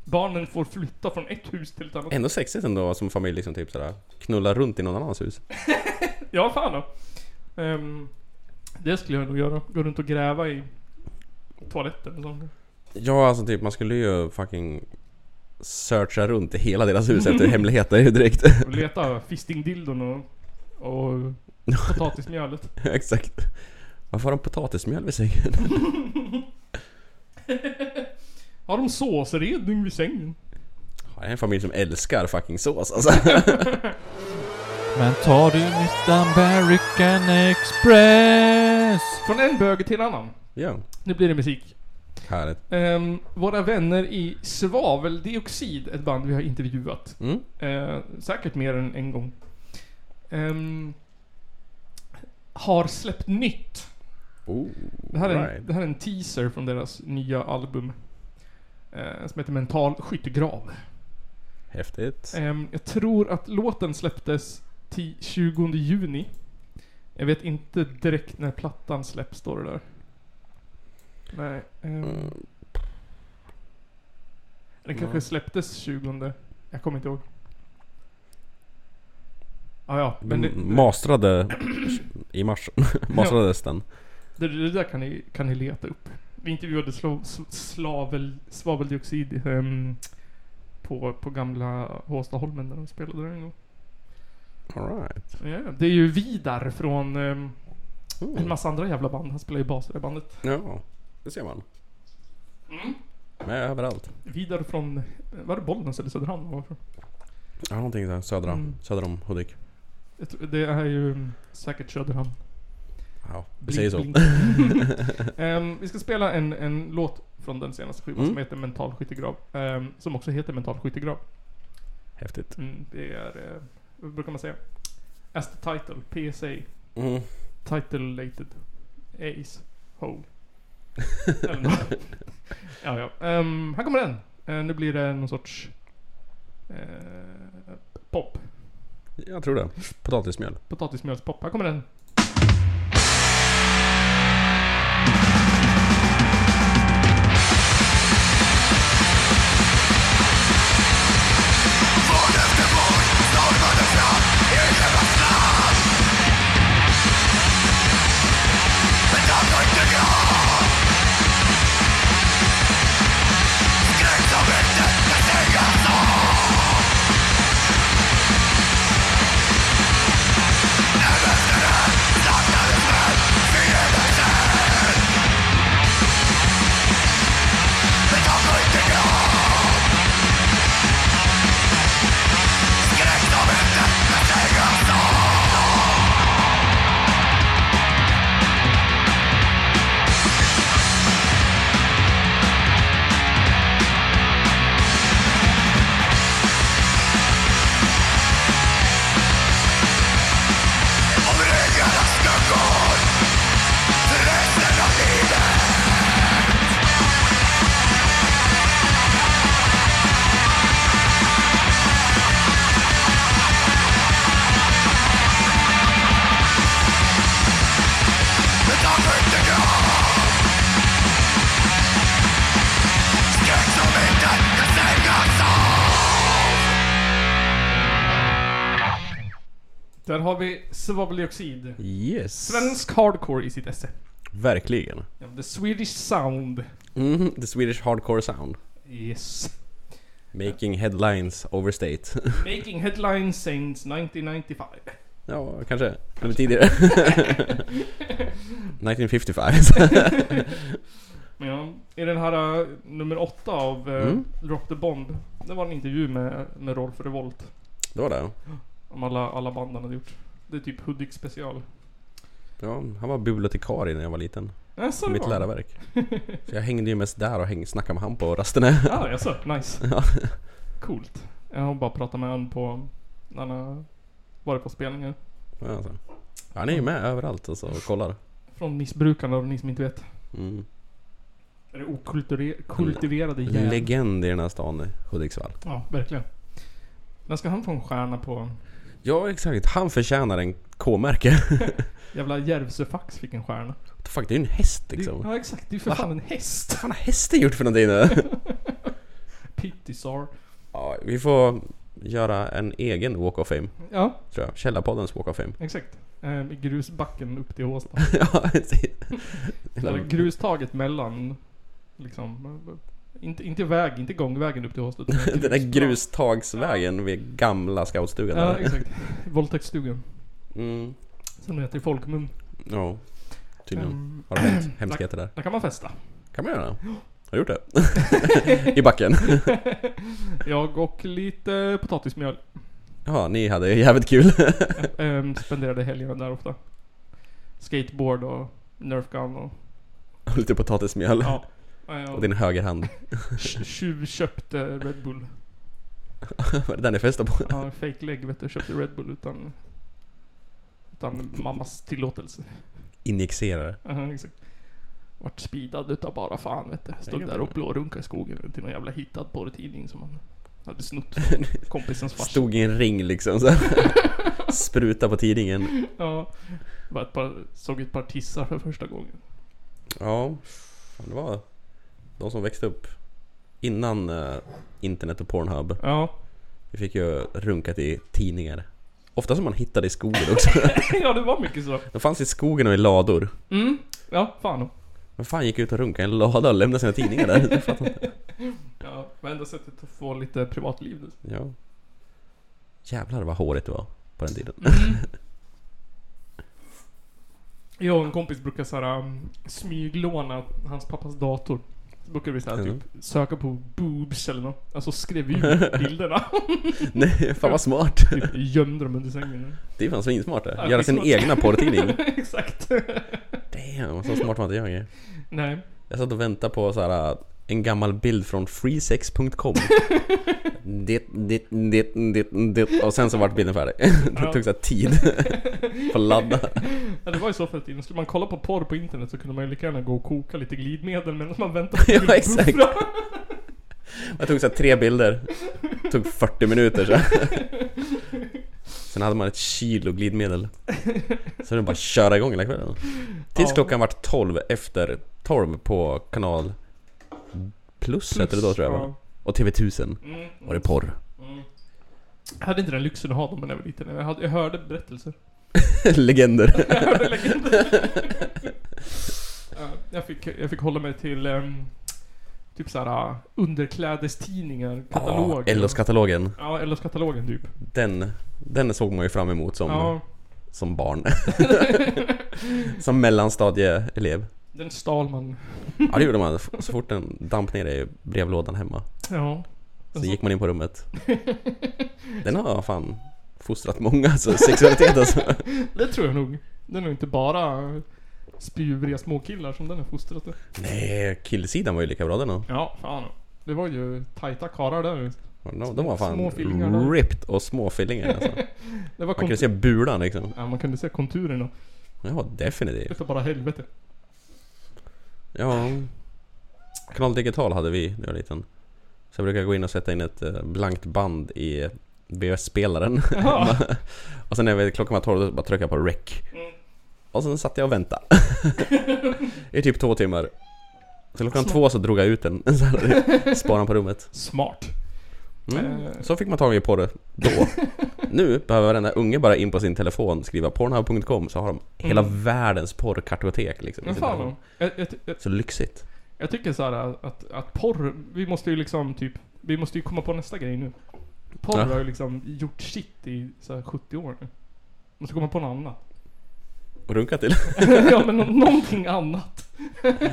[SPEAKER 1] Barnen får flytta från ett hus till ett annat.
[SPEAKER 2] Ändå sexigt ändå som familj liksom typ sådär. Knulla runt i någon annans hus.
[SPEAKER 1] Ja, fan då. Ehm, det skulle jag nog göra. Gå runt och gräva i toaletten och sånt.
[SPEAKER 2] Ja alltså typ man skulle ju fucking searcha runt i hela deras hus efter hemligheter ju direkt.
[SPEAKER 1] Och leta fistingdildon och, och potatismjölet.
[SPEAKER 2] Exakt. Varför har de potatismjöl vid sängen?
[SPEAKER 1] Har de såsredning vid sängen?
[SPEAKER 2] Ja, Det är en familj som älskar fucking sås alltså.
[SPEAKER 10] Men tar du mitt American Express?
[SPEAKER 1] Från en bög till en annan.
[SPEAKER 2] Ja.
[SPEAKER 1] Nu blir det musik.
[SPEAKER 2] Härligt.
[SPEAKER 1] Ehm, våra vänner i Svaveldioxid, ett band vi har intervjuat.
[SPEAKER 2] Mm.
[SPEAKER 1] Eh, säkert mer än en gång. Ehm, har släppt nytt.
[SPEAKER 2] Oh,
[SPEAKER 1] Det här, är en,
[SPEAKER 2] right.
[SPEAKER 1] det här är en teaser från deras nya album. Eh, som heter Mental Skyttegrav.
[SPEAKER 2] Häftigt.
[SPEAKER 1] Ehm, jag tror att låten släpptes ti- 20 juni. Jag vet inte direkt när plattan släpps, står det där. Nej. ehm. Den kanske
[SPEAKER 13] Nej.
[SPEAKER 1] släpptes 20. Jag kommer inte ihåg. Ah, ja, men det,
[SPEAKER 2] M- Mm, Mastrade i mars. Mastrades den.
[SPEAKER 1] det, det där kan ni, kan ni leta upp. Vi intervjuade sla, s- slavel, svaveldioxid ehm, på, på gamla Håstaholmen där de spelade där en gång.
[SPEAKER 2] All right.
[SPEAKER 1] Ja, det är ju Vidar från ehm,
[SPEAKER 2] Oh.
[SPEAKER 1] en massa andra jävla band. Han spelar ju bas i det bandet.
[SPEAKER 2] Ja, det ser man.
[SPEAKER 1] Mm.
[SPEAKER 2] Med överallt.
[SPEAKER 1] Vidar från, eh, var det Bollnäs eller Söderhamn? Varför?
[SPEAKER 2] Ja, någonting där södra.
[SPEAKER 1] Mm.
[SPEAKER 2] Söder om Hudik.
[SPEAKER 1] Jag tror- Det är ju mm, säkert Söderhamn.
[SPEAKER 2] Ja, vi
[SPEAKER 1] Blink,
[SPEAKER 2] säger så.
[SPEAKER 1] blink. Ehm, vi ska spela en, en låt från den senaste skivan
[SPEAKER 2] Mm.
[SPEAKER 1] som heter Mental Skyttegrav. ehm, som också heter Mental Skyttegrav.
[SPEAKER 2] Häftigt.
[SPEAKER 1] Mm, det är, eh, vad brukar man säga? As the title, PSA.
[SPEAKER 2] Mm.
[SPEAKER 1] Title related. Ace. Hole. Eller nåt. ja, ja. Ehm, här kommer den. Eh, nu blir det någon sorts... eh, pop.
[SPEAKER 2] Jag tror det. Potatismjöl.
[SPEAKER 1] Potatismjölspop. Här kommer den. Där har vi svaveldioxid.
[SPEAKER 2] Yes.
[SPEAKER 1] Svensk hardcore i sitt esse.
[SPEAKER 2] Verkligen.
[SPEAKER 1] Ja, The Swedish Sound.
[SPEAKER 2] Mm, the Swedish Hardcore Sound.
[SPEAKER 1] Yes.
[SPEAKER 2] Making headlines over state.
[SPEAKER 1] Making headlines since 1995.
[SPEAKER 2] Ja, kanske. Eller tidigare. 1955.
[SPEAKER 1] Men ja, i den här eh, nummer åtta av eh,
[SPEAKER 2] Mm.
[SPEAKER 1] Drop the Bomb. Det var en intervju med, med Rolf Revolt.
[SPEAKER 2] det var det.
[SPEAKER 1] Om alla, alla band han hade gjort. Det är typ Hudik special.
[SPEAKER 2] Ja, han var bibliotekarie när jag var liten.
[SPEAKER 1] Jaså,
[SPEAKER 2] På
[SPEAKER 1] Äh, det
[SPEAKER 2] mitt
[SPEAKER 1] var han?
[SPEAKER 2] läroverk. Så jag hängde ju mest där och häng, snackade med han på rasterna.
[SPEAKER 1] Ja, jaså? Nice.
[SPEAKER 2] Ja.
[SPEAKER 1] Coolt. Jag har bara pratat med honom på... När han har varit på spelningar.
[SPEAKER 2] Ja, alltså. Han är ju med överallt alltså och kollar.
[SPEAKER 1] Från missbrukarna och ni som inte vet.
[SPEAKER 2] Mm.
[SPEAKER 1] Är det okultiverade
[SPEAKER 2] En
[SPEAKER 1] jävlar.
[SPEAKER 2] Legend i den här stan, Hudiksvall.
[SPEAKER 1] Ja, verkligen. Men ska han få en stjärna på...
[SPEAKER 2] Ja exakt, han förtjänar en K-märke.
[SPEAKER 1] Jävla Järvsöfax fick en stjärna.
[SPEAKER 2] Fuck, det är ju en häst liksom.
[SPEAKER 1] Ja exakt, det är ju för fan en häst.
[SPEAKER 2] Vad fan har hästen gjort för någonting nu?
[SPEAKER 1] Pittisar.
[SPEAKER 2] ja, vi får göra en egen Walk of Fame.
[SPEAKER 1] Ja.
[SPEAKER 2] Tror jag. Källarpoddens Walk of Fame.
[SPEAKER 1] Exakt. Ehm, i grusbacken upp till Håstad.
[SPEAKER 2] ja, precis.
[SPEAKER 1] Eller grustaget mellan... Liksom... eh, Inte, inte väg, inte gångvägen upp till typ Håstad. utan
[SPEAKER 2] Den där
[SPEAKER 1] grus-
[SPEAKER 2] grustagsvägen vid gamla scoutstugan.
[SPEAKER 1] Ja
[SPEAKER 2] där.
[SPEAKER 1] exakt. Våldtäktsstugan.
[SPEAKER 2] Mm.
[SPEAKER 1] Som det heter i folkmun.
[SPEAKER 2] Ja, tydligen.
[SPEAKER 1] Ehm,
[SPEAKER 2] Har det hänt hemskheter där?
[SPEAKER 1] Där kan man festa.
[SPEAKER 2] Kan man göra det? Har du gjort det? I backen?
[SPEAKER 1] Jag och lite potatismjöl.
[SPEAKER 2] Ja, ni hade ju jävligt kul.
[SPEAKER 1] Ehm, spenderade helgerna där ofta. Skateboard och Nerf gun och...
[SPEAKER 2] Och lite potatismjöl.
[SPEAKER 1] Ja. ehm, Ja, ja.
[SPEAKER 2] Och din högerhand.
[SPEAKER 1] Tjuvköpte Red Bull.
[SPEAKER 2] Var det den ni festade på?
[SPEAKER 1] Ja, fake leg vet du. Köpte Red Bull utan... Utan mammas tillåtelse.
[SPEAKER 2] Injicerare.
[SPEAKER 1] Aha, exakt. Vart speedad utav bara fan vet du. Stod
[SPEAKER 2] Det är
[SPEAKER 1] där och
[SPEAKER 2] bra.
[SPEAKER 1] blårunkade i skogen till någon jävla hittad porrtidning som man hade snott från kompisens farsa.
[SPEAKER 2] Stod i en ring liksom så. Spruta på tidningen.
[SPEAKER 1] Ja. Var ett par, såg ett par tissar för första gången.
[SPEAKER 2] Ja, fan, det var de som växte upp innan eh, internet och Pornhub.
[SPEAKER 1] Ja.
[SPEAKER 2] Vi fick ju runkat i tidningar. Ofta som man hittade i skogen också.
[SPEAKER 1] ja, det var mycket så.
[SPEAKER 2] De fanns i skogen och i lador.
[SPEAKER 1] Mm. Ja, fan.
[SPEAKER 2] Men fan gick ut och runkade i en lada och lämnade sina tidningar där? Jag fattar inte.
[SPEAKER 1] Ja, men enda sättet att få lite privatliv nu.
[SPEAKER 2] ja. Jävlar vad hårigt det var på den tiden.
[SPEAKER 1] Jag och en kompis brukar såhär um, smyglåna hans pappas dator. Så brukar vi såhär
[SPEAKER 2] Mm.
[SPEAKER 1] typ söka på boobs eller något. Alltså skrev vi ut bilderna.
[SPEAKER 2] Nej, fan vad smart.
[SPEAKER 1] typ gömde dem under sängen.
[SPEAKER 2] Det är fan svinsmart det.
[SPEAKER 1] Ja,
[SPEAKER 2] Göra
[SPEAKER 1] det är
[SPEAKER 2] sin
[SPEAKER 1] smart.
[SPEAKER 2] egna porrtidning.
[SPEAKER 1] Exakt.
[SPEAKER 2] Damn, så smart var inte jag. ju.
[SPEAKER 1] Nej.
[SPEAKER 2] Jag satt och väntade på så här, äh, en gammal bild från freesex.com. det, det, det, det, det. Och sen så vart bilden färdig. Det
[SPEAKER 1] Ja.
[SPEAKER 2] tog så här tid. För att ladda.
[SPEAKER 1] Ja, det var ju så förr i tiden. Skulle man kolla på porr på internet så kunde man ju lika gärna gå och koka lite glidmedel medan man väntar på
[SPEAKER 2] Ja, exakt.
[SPEAKER 1] guldbuffran.
[SPEAKER 2] Jag tog så här tre bilder. Det tog 40 minuter. Så. här. Sen hade man ett kilo glidmedel. Så det var bara att köra igång hela kvällen. Tills
[SPEAKER 1] Ja.
[SPEAKER 2] klockan vart 12 efter 12 på kanal plus, hette det då tror jag.
[SPEAKER 1] ja.
[SPEAKER 2] va? Och TV1000
[SPEAKER 1] Mm,
[SPEAKER 2] var det porr.
[SPEAKER 1] Jag hade inte den lyxen att ha dem när jag var liten. Jag, hade, jag hörde berättelser.
[SPEAKER 2] Legender.
[SPEAKER 1] Jag hörde legender. Ja, jag, fick, jag fick hålla mig till ehm, typ såhär underklädestidningar,
[SPEAKER 2] Ah,
[SPEAKER 1] kataloger.
[SPEAKER 2] Ja, LOS-katalogen.
[SPEAKER 1] Ja, LOS-katalogen typ.
[SPEAKER 2] Den, den såg man ju fram emot som,
[SPEAKER 1] Ja,
[SPEAKER 2] som barn. som mellanstadieelev.
[SPEAKER 1] den stal man.
[SPEAKER 2] Ja det gjorde man. Så fort den damp ner i brevlådan hemma.
[SPEAKER 1] Ja.
[SPEAKER 2] Så gick man in på rummet. Den har fan fostrat många alltså, sexualitet alltså.
[SPEAKER 1] Det tror jag nog. Det är nog inte bara spjuvriga småkillar som den är fostrad till.
[SPEAKER 2] Nej, killsidan var ju lika bra den då.
[SPEAKER 1] Ja, fan. Det var ju tajta karlar där.
[SPEAKER 2] De, de
[SPEAKER 1] Små
[SPEAKER 2] var fan
[SPEAKER 1] fillingar där.
[SPEAKER 2] ripped och småfillingar alltså.
[SPEAKER 1] Det var
[SPEAKER 2] Man kunde
[SPEAKER 1] kontur-
[SPEAKER 2] se bulan liksom.
[SPEAKER 1] ja, man kunde se konturerna.
[SPEAKER 2] Ja, definitivt.
[SPEAKER 1] Utav bara helvete.
[SPEAKER 2] Ja. Kanal Digital hade vi när jag var liten. Så jag brukade gå in och sätta in ett eh, blankt band i VHS-spelaren.
[SPEAKER 1] Jaha.
[SPEAKER 2] och sen när jag- klockan var tolv då bara tryckte jag på rec.
[SPEAKER 1] Mm.
[SPEAKER 2] Och sen satt jag och väntade. I typ två timmar. Så klockan
[SPEAKER 1] Smart.
[SPEAKER 2] två så drog jag ut den. Så här, Spanade på rummet.
[SPEAKER 1] Smart.
[SPEAKER 2] Mm.
[SPEAKER 1] Eh.
[SPEAKER 2] Så fick man tag i porr då. nu behöver varenda unge bara in på sin telefon skriva pornhub.com så har de hela världens porrkartotek liksom. i
[SPEAKER 1] Men
[SPEAKER 2] sin
[SPEAKER 1] Mm. fan
[SPEAKER 2] telefon.
[SPEAKER 1] då. jag, jag, jag,
[SPEAKER 2] Så lyxigt.
[SPEAKER 1] jag tycker så här att, att porr, vi måste ju liksom typ vi måste ju komma på nästa grej nu. Porr
[SPEAKER 2] Ja.
[SPEAKER 1] har ju liksom gjort shit i så här 70 år nu. Måste komma på något annat.
[SPEAKER 2] Och runka till.
[SPEAKER 1] ja men nå- någonting annat.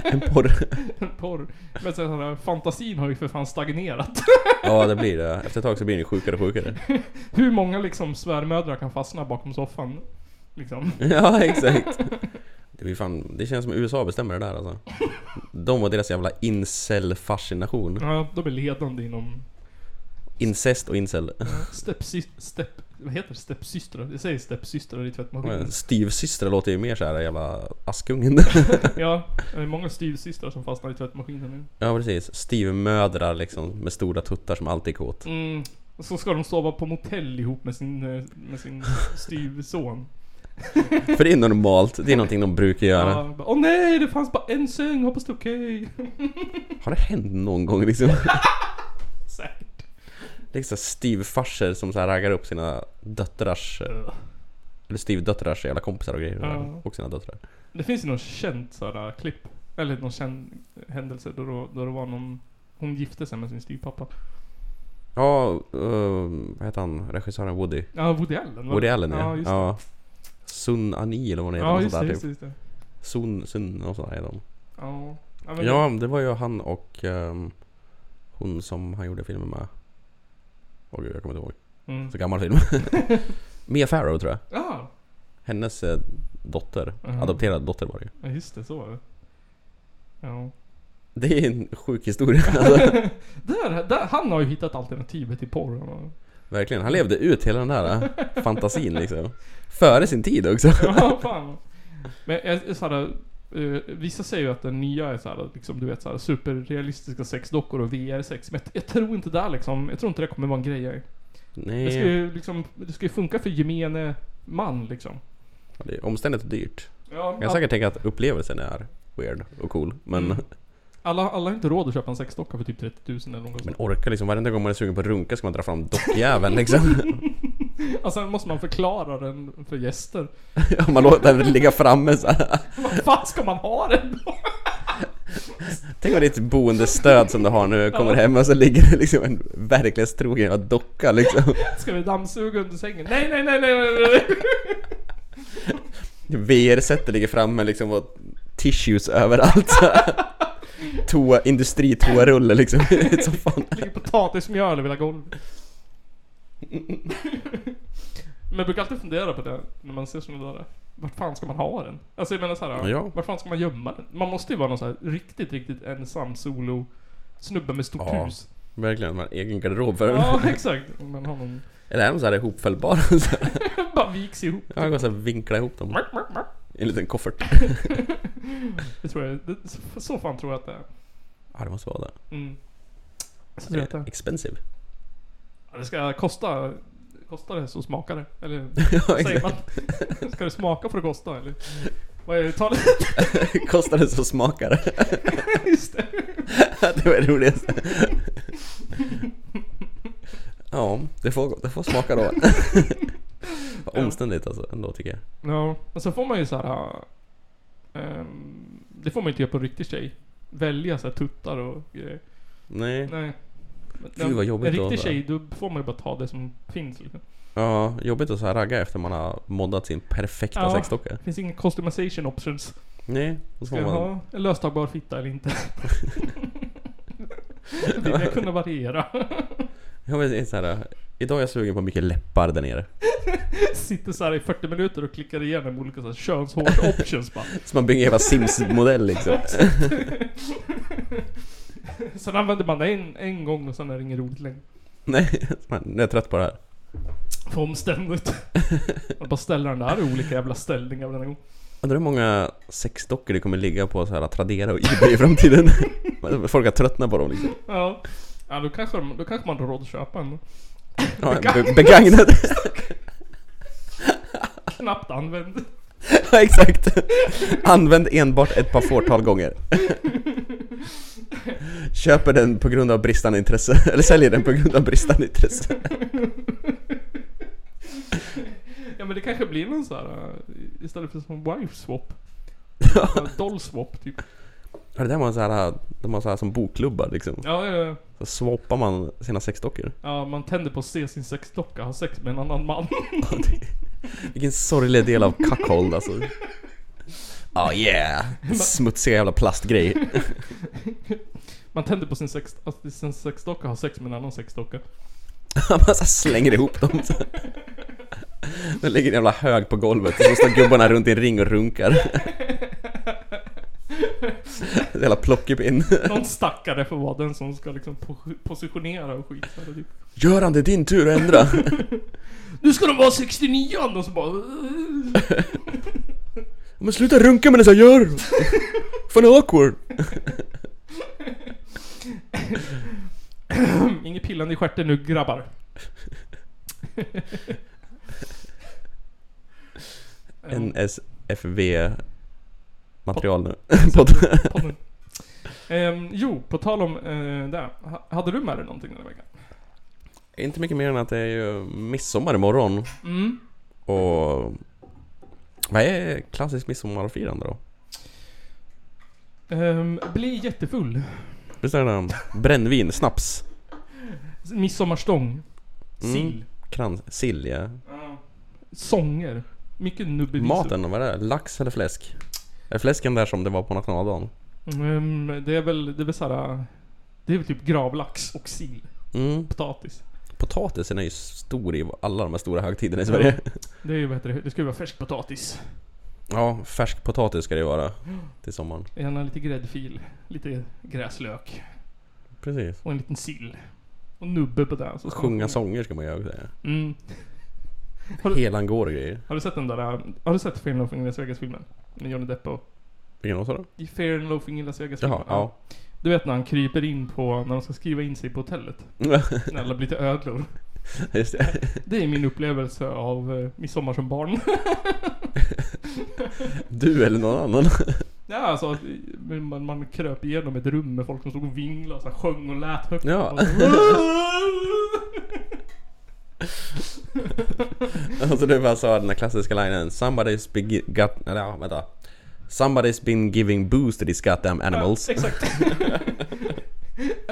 [SPEAKER 2] En porr.
[SPEAKER 1] En porr. Men sen, har- fantasin har ju för fan stagnerat.
[SPEAKER 2] Ja det blir det. Efter ett tag så blir ni sjukare och sjukare.
[SPEAKER 1] Hur många liksom svärmödrar kan fastna bakom soffan? Liksom.
[SPEAKER 2] Ja exakt. Det, blir fan, det känns som USA bestämmer det där alltså. De och deras jävla incel-fascination.
[SPEAKER 1] Ja, de är ledande inom
[SPEAKER 2] Incest och incel.
[SPEAKER 1] stepsy... Step, vad heter det? Stepsystrar? Det säger stepsystrar i tvättmaskinen.
[SPEAKER 2] Styvsystrar låter ju mer såhär jävla Askungen.
[SPEAKER 1] ja, det är många styvsystrar som fastnar i tvättmaskinen nu.
[SPEAKER 2] Ja precis. Styvmödrar liksom med stora tuttar som alltid är kåt.
[SPEAKER 1] Mm. Och så ska de sova på motell ihop med sin, eh, med sin styvson.
[SPEAKER 2] För det är normalt. Det är någonting de brukar göra.
[SPEAKER 1] Ja, bara, Åh nej, det fanns bara en säng, hoppas det är okej.
[SPEAKER 2] Har det hänt någon gång liksom?
[SPEAKER 1] Säkert.
[SPEAKER 2] Liksom styvfarser som så här raggar upp sina döttrars... Eller styvdöttrars jävla kompisar och grejer.
[SPEAKER 1] Ja.
[SPEAKER 2] Och sina döttrar.
[SPEAKER 1] Det finns ju något känt sådär klipp. Eller någon känd händelse då, då, då det var någon... Hon gifte sig med sin styvpappa.
[SPEAKER 2] Ja, eh, vad heter han? Regissören Woody?
[SPEAKER 1] Ja, Woody Allen, var det?
[SPEAKER 2] Woody Allen
[SPEAKER 1] Ja,
[SPEAKER 2] ja.
[SPEAKER 1] just
[SPEAKER 2] ja. Sun Ani eller vad han heter.
[SPEAKER 1] Ja,
[SPEAKER 2] något
[SPEAKER 1] just
[SPEAKER 2] sånt
[SPEAKER 1] det,
[SPEAKER 2] där, typ.
[SPEAKER 1] just det, just det.
[SPEAKER 2] Sun, Sun, något sånt där heter de.
[SPEAKER 1] Ja. Ja, men
[SPEAKER 2] Ja, det var ju han och ehm, hon som han gjorde filmen med. Åh gud, jag kommer inte ihåg.
[SPEAKER 1] Mm. Ah!
[SPEAKER 2] Så gammal film. Mia Farrow tror jag.
[SPEAKER 1] Ja.
[SPEAKER 2] Hennes eh, dotter.
[SPEAKER 1] Mhm.
[SPEAKER 2] Adopterad dotter var det ju.
[SPEAKER 1] Ja, just det. Så var det. Ja.
[SPEAKER 2] Det är en sjuk historia. Alltså,
[SPEAKER 1] där, där, han har ju hittat alternativet till porr. han har-
[SPEAKER 2] verkligen. Han levde ut hela den där eh, fantasin liksom. Före sin tid också.
[SPEAKER 1] Ja, fan. Men jag, jag, så här, eh, vissa säger ju att den nya är så här, liksom, du vet, så här, superrealistiska sexdockor och VR-sex. Men jag, jag tror inte där liksom, jag tror inte det kommer vara en grej. jag.
[SPEAKER 2] Nej.
[SPEAKER 1] Det ska ju liksom, det ska ju funka för gemene man liksom.
[SPEAKER 2] Ja, Det är omständigt och dyrt.
[SPEAKER 1] Ja,
[SPEAKER 2] jag kan
[SPEAKER 1] ja.
[SPEAKER 2] säkert tänka att upplevelsen är weird och cool. Men,
[SPEAKER 1] Alla, alla har inte råd att köpa en sexdocka för typ 30 000 eller något
[SPEAKER 2] men
[SPEAKER 1] sånt.
[SPEAKER 2] orkar liksom. Varenda gång man är sugen på att runka ska man dra fram dockjäveln liksom.
[SPEAKER 1] Och sen Alltså, måste man förklara den för gäster.
[SPEAKER 2] Ja, man låter den ligga framme så här.
[SPEAKER 1] Vad fan ska man ha den då?
[SPEAKER 2] Tänk om ditt boendestöd som du har nu kommer
[SPEAKER 1] Ja.
[SPEAKER 2] hem och så ligger det liksom en verklighetstrogen jävla docka liksom.
[SPEAKER 1] Ska vi dammsuga under sängen? Nej, nej, nej, nej, nej, nej.
[SPEAKER 2] VR-sättet ligger framme liksom och tissues överallt så här. Toa, industritoarulle liksom. Så fan.
[SPEAKER 1] Ligger potatismjöl över hela golvet. Men jag brukar alltid fundera på det när man ser såna där. Vart fan ska man ha den? Alltså jag menar såhär,
[SPEAKER 2] Ja.
[SPEAKER 1] vart fan ska man gömma den? Man måste ju vara någon så här riktigt, riktigt ensam solo snubbe med stort
[SPEAKER 2] Ja,
[SPEAKER 1] hus.
[SPEAKER 2] verkligen. Man har egen garderob för den.
[SPEAKER 1] Ja, exakt. Om Man har någon...
[SPEAKER 2] Eller är de så här ihopfällbara? Så här.
[SPEAKER 1] Bara viks ihop.
[SPEAKER 2] Ja, man kan så här vinkla ihop dem. I en liten koffert.
[SPEAKER 1] Det tror jag, det, så- så fan tror jag att det är.
[SPEAKER 2] Ja, det måste vara det.
[SPEAKER 1] Mm. Så tror
[SPEAKER 2] Det
[SPEAKER 1] jag att det är.
[SPEAKER 2] är expensive.
[SPEAKER 1] Ja, Det ska kosta, kosta det så smakar det. Eller
[SPEAKER 2] Ja,
[SPEAKER 1] vad säger man?
[SPEAKER 2] exakt.
[SPEAKER 1] Ska det smaka för att kosta eller? Vad är det talet?
[SPEAKER 2] Kostar det så smakar det.
[SPEAKER 1] Just det.
[SPEAKER 2] Det var det roligaste. Ja, det får, det får smaka då. Vad Omständigt alltså, ändå tycker jag.
[SPEAKER 1] Ja, men så får man ju så här. ehm, det får man inte göra på en riktig tjej. Välja så här tuttar och grejer.
[SPEAKER 2] Nej.
[SPEAKER 1] Nej. Men
[SPEAKER 2] Fy, vad jobbigt
[SPEAKER 1] En
[SPEAKER 2] då,
[SPEAKER 1] riktig
[SPEAKER 2] så här.
[SPEAKER 1] tjej, då får man ju bara ta det som finns liksom.
[SPEAKER 2] Ja, jobbigt att så här ragga efter man har moddat sin perfekta
[SPEAKER 1] Ja.
[SPEAKER 2] sexdocka.
[SPEAKER 1] Det finns inga customization options.
[SPEAKER 2] Nej, då
[SPEAKER 1] Ska
[SPEAKER 2] får
[SPEAKER 1] jag
[SPEAKER 2] man...
[SPEAKER 1] ha en löstagbar fitta eller inte? Vill jag kunna variera?
[SPEAKER 2] Jag vet, så här, idag är jag sugen på mycket läppar där nere.
[SPEAKER 1] Sitter så här i 40 minuter och klickar igenom olika så här könshårsoptions bara.
[SPEAKER 2] Så man bygger en jävla Sims-modell liksom.
[SPEAKER 1] sen använder man det en, en gång och sen är det inget roligt längre.
[SPEAKER 2] Nej, man, jag är trött på det här.
[SPEAKER 1] För omständigt. Man bara ställer den där i olika jävla ställningar varenda gång.
[SPEAKER 2] Undrar hur många sexdockor det kommer ligga på så här Tradera och Ebay i framtiden. Folk har tröttnat på dem liksom.
[SPEAKER 1] Ja. Ja, då kanske, de- då kanske man har råd att köpa en.
[SPEAKER 2] Ja,
[SPEAKER 1] Begagnad.
[SPEAKER 2] be- begagnad.
[SPEAKER 1] Knappt använd.
[SPEAKER 2] Ja, exakt. Använd enbart ett par fåtal gånger. Köper den på grund av bristande intresse. Eller säljer den på grund av bristande intresse.
[SPEAKER 1] Ja men det kanske blir någon så här eh, istället för som wife swap. Doll swap typ.
[SPEAKER 2] Ja, det där var en så här, de har så här som bokklubbar liksom.
[SPEAKER 1] Ja, ja, ja.
[SPEAKER 2] Så swappar man sina sexdockor.
[SPEAKER 1] Ja, man tänder på att se sin sexdocka ha sex med en annan man.
[SPEAKER 2] Vilken sorglig del av cuckold alltså. Oh yeah! Smutsiga jävla plastgrej.
[SPEAKER 1] man tänder på sin, sex, att sin sexdocka ha sex med en annan sexdocka.
[SPEAKER 2] Man så här slänger ihop dem. Så. Den ligger en jävla hög på golvet och så står gubbarna runt i en ring och runkar. Jävla plockepinn.
[SPEAKER 1] Någon stackare får vara den som ska liksom po- positionera och skit. så här, Typ.
[SPEAKER 2] Göran, det är din tur att ändra.
[SPEAKER 1] Nu ska de vara 69 och så bara...
[SPEAKER 2] Men sluta runka med dessa gör! Fan awkward!
[SPEAKER 1] Inget pillande i stjärten nu grabbar.
[SPEAKER 2] NSFV material nu.
[SPEAKER 1] Podden. Ehm, jo, på tal om eh, det. Ha- Hade du med dig någonting den här veckan?
[SPEAKER 2] Inte mycket mer än att det är ju midsommar imorgon.
[SPEAKER 1] Mm.
[SPEAKER 2] Och... Vad är klassiskt midsommarfirande då?
[SPEAKER 1] Ehm, bli jättefull.
[SPEAKER 2] Visst är det brännvin, snaps?
[SPEAKER 1] Midsommarstång.
[SPEAKER 2] Mm.
[SPEAKER 1] Sill.
[SPEAKER 2] Krans, sill ja.
[SPEAKER 1] Sånger. Mycket nubbevisor.
[SPEAKER 2] Maten, vad är det? Lax eller fläsk? Är fläsken där som det var på nationaldagen?
[SPEAKER 1] Ehm, det är väl, det är väl såhär... Det är väl typ gravlax och sill.
[SPEAKER 2] Mm.
[SPEAKER 1] Potatis.
[SPEAKER 2] Potatisen är ju stor i alla de här stora högtiderna i Sverige.
[SPEAKER 1] Det är ju bättre. Det ska ju vara färsk potatis.
[SPEAKER 2] Ja, färsk potatis ska det ju vara till sommaren.
[SPEAKER 1] Gärna lite gräddfil. Lite gräslök.
[SPEAKER 2] Precis.
[SPEAKER 1] Och en liten sill. Och nubbe på det. Så ska man
[SPEAKER 2] Sjunga sånger ska man göra också.
[SPEAKER 1] Mm.
[SPEAKER 2] Helan går och grejer.
[SPEAKER 1] Har du sett den där... äh, Har du sett Fear and Loafing in Las Vegas-filmen? Med Johnny Depp och...
[SPEAKER 2] Vilken låt sa du?
[SPEAKER 1] I Fear and Loafing in Las Vegas-filmen?
[SPEAKER 2] Jaha, ja.
[SPEAKER 1] Du vet när han kryper in på... När de ska skriva in sig på hotellet? när alla blir till ödlor.
[SPEAKER 2] Just det.
[SPEAKER 1] Det är min upplevelse av eh, midsommar som barn.
[SPEAKER 2] Du eller någon annan.
[SPEAKER 1] ja, alltså att man, man kröp igenom ett rum med folk som stod och vinglade och så här, sjöng och lät högt.
[SPEAKER 2] Ja.
[SPEAKER 1] Och så,
[SPEAKER 2] Alltså du bara sa den där klassiska linen Somebody's been gi- got... eller, Ja, vänta. Somebody's been giving booze to these goddamn animals.
[SPEAKER 1] Ja, exakt.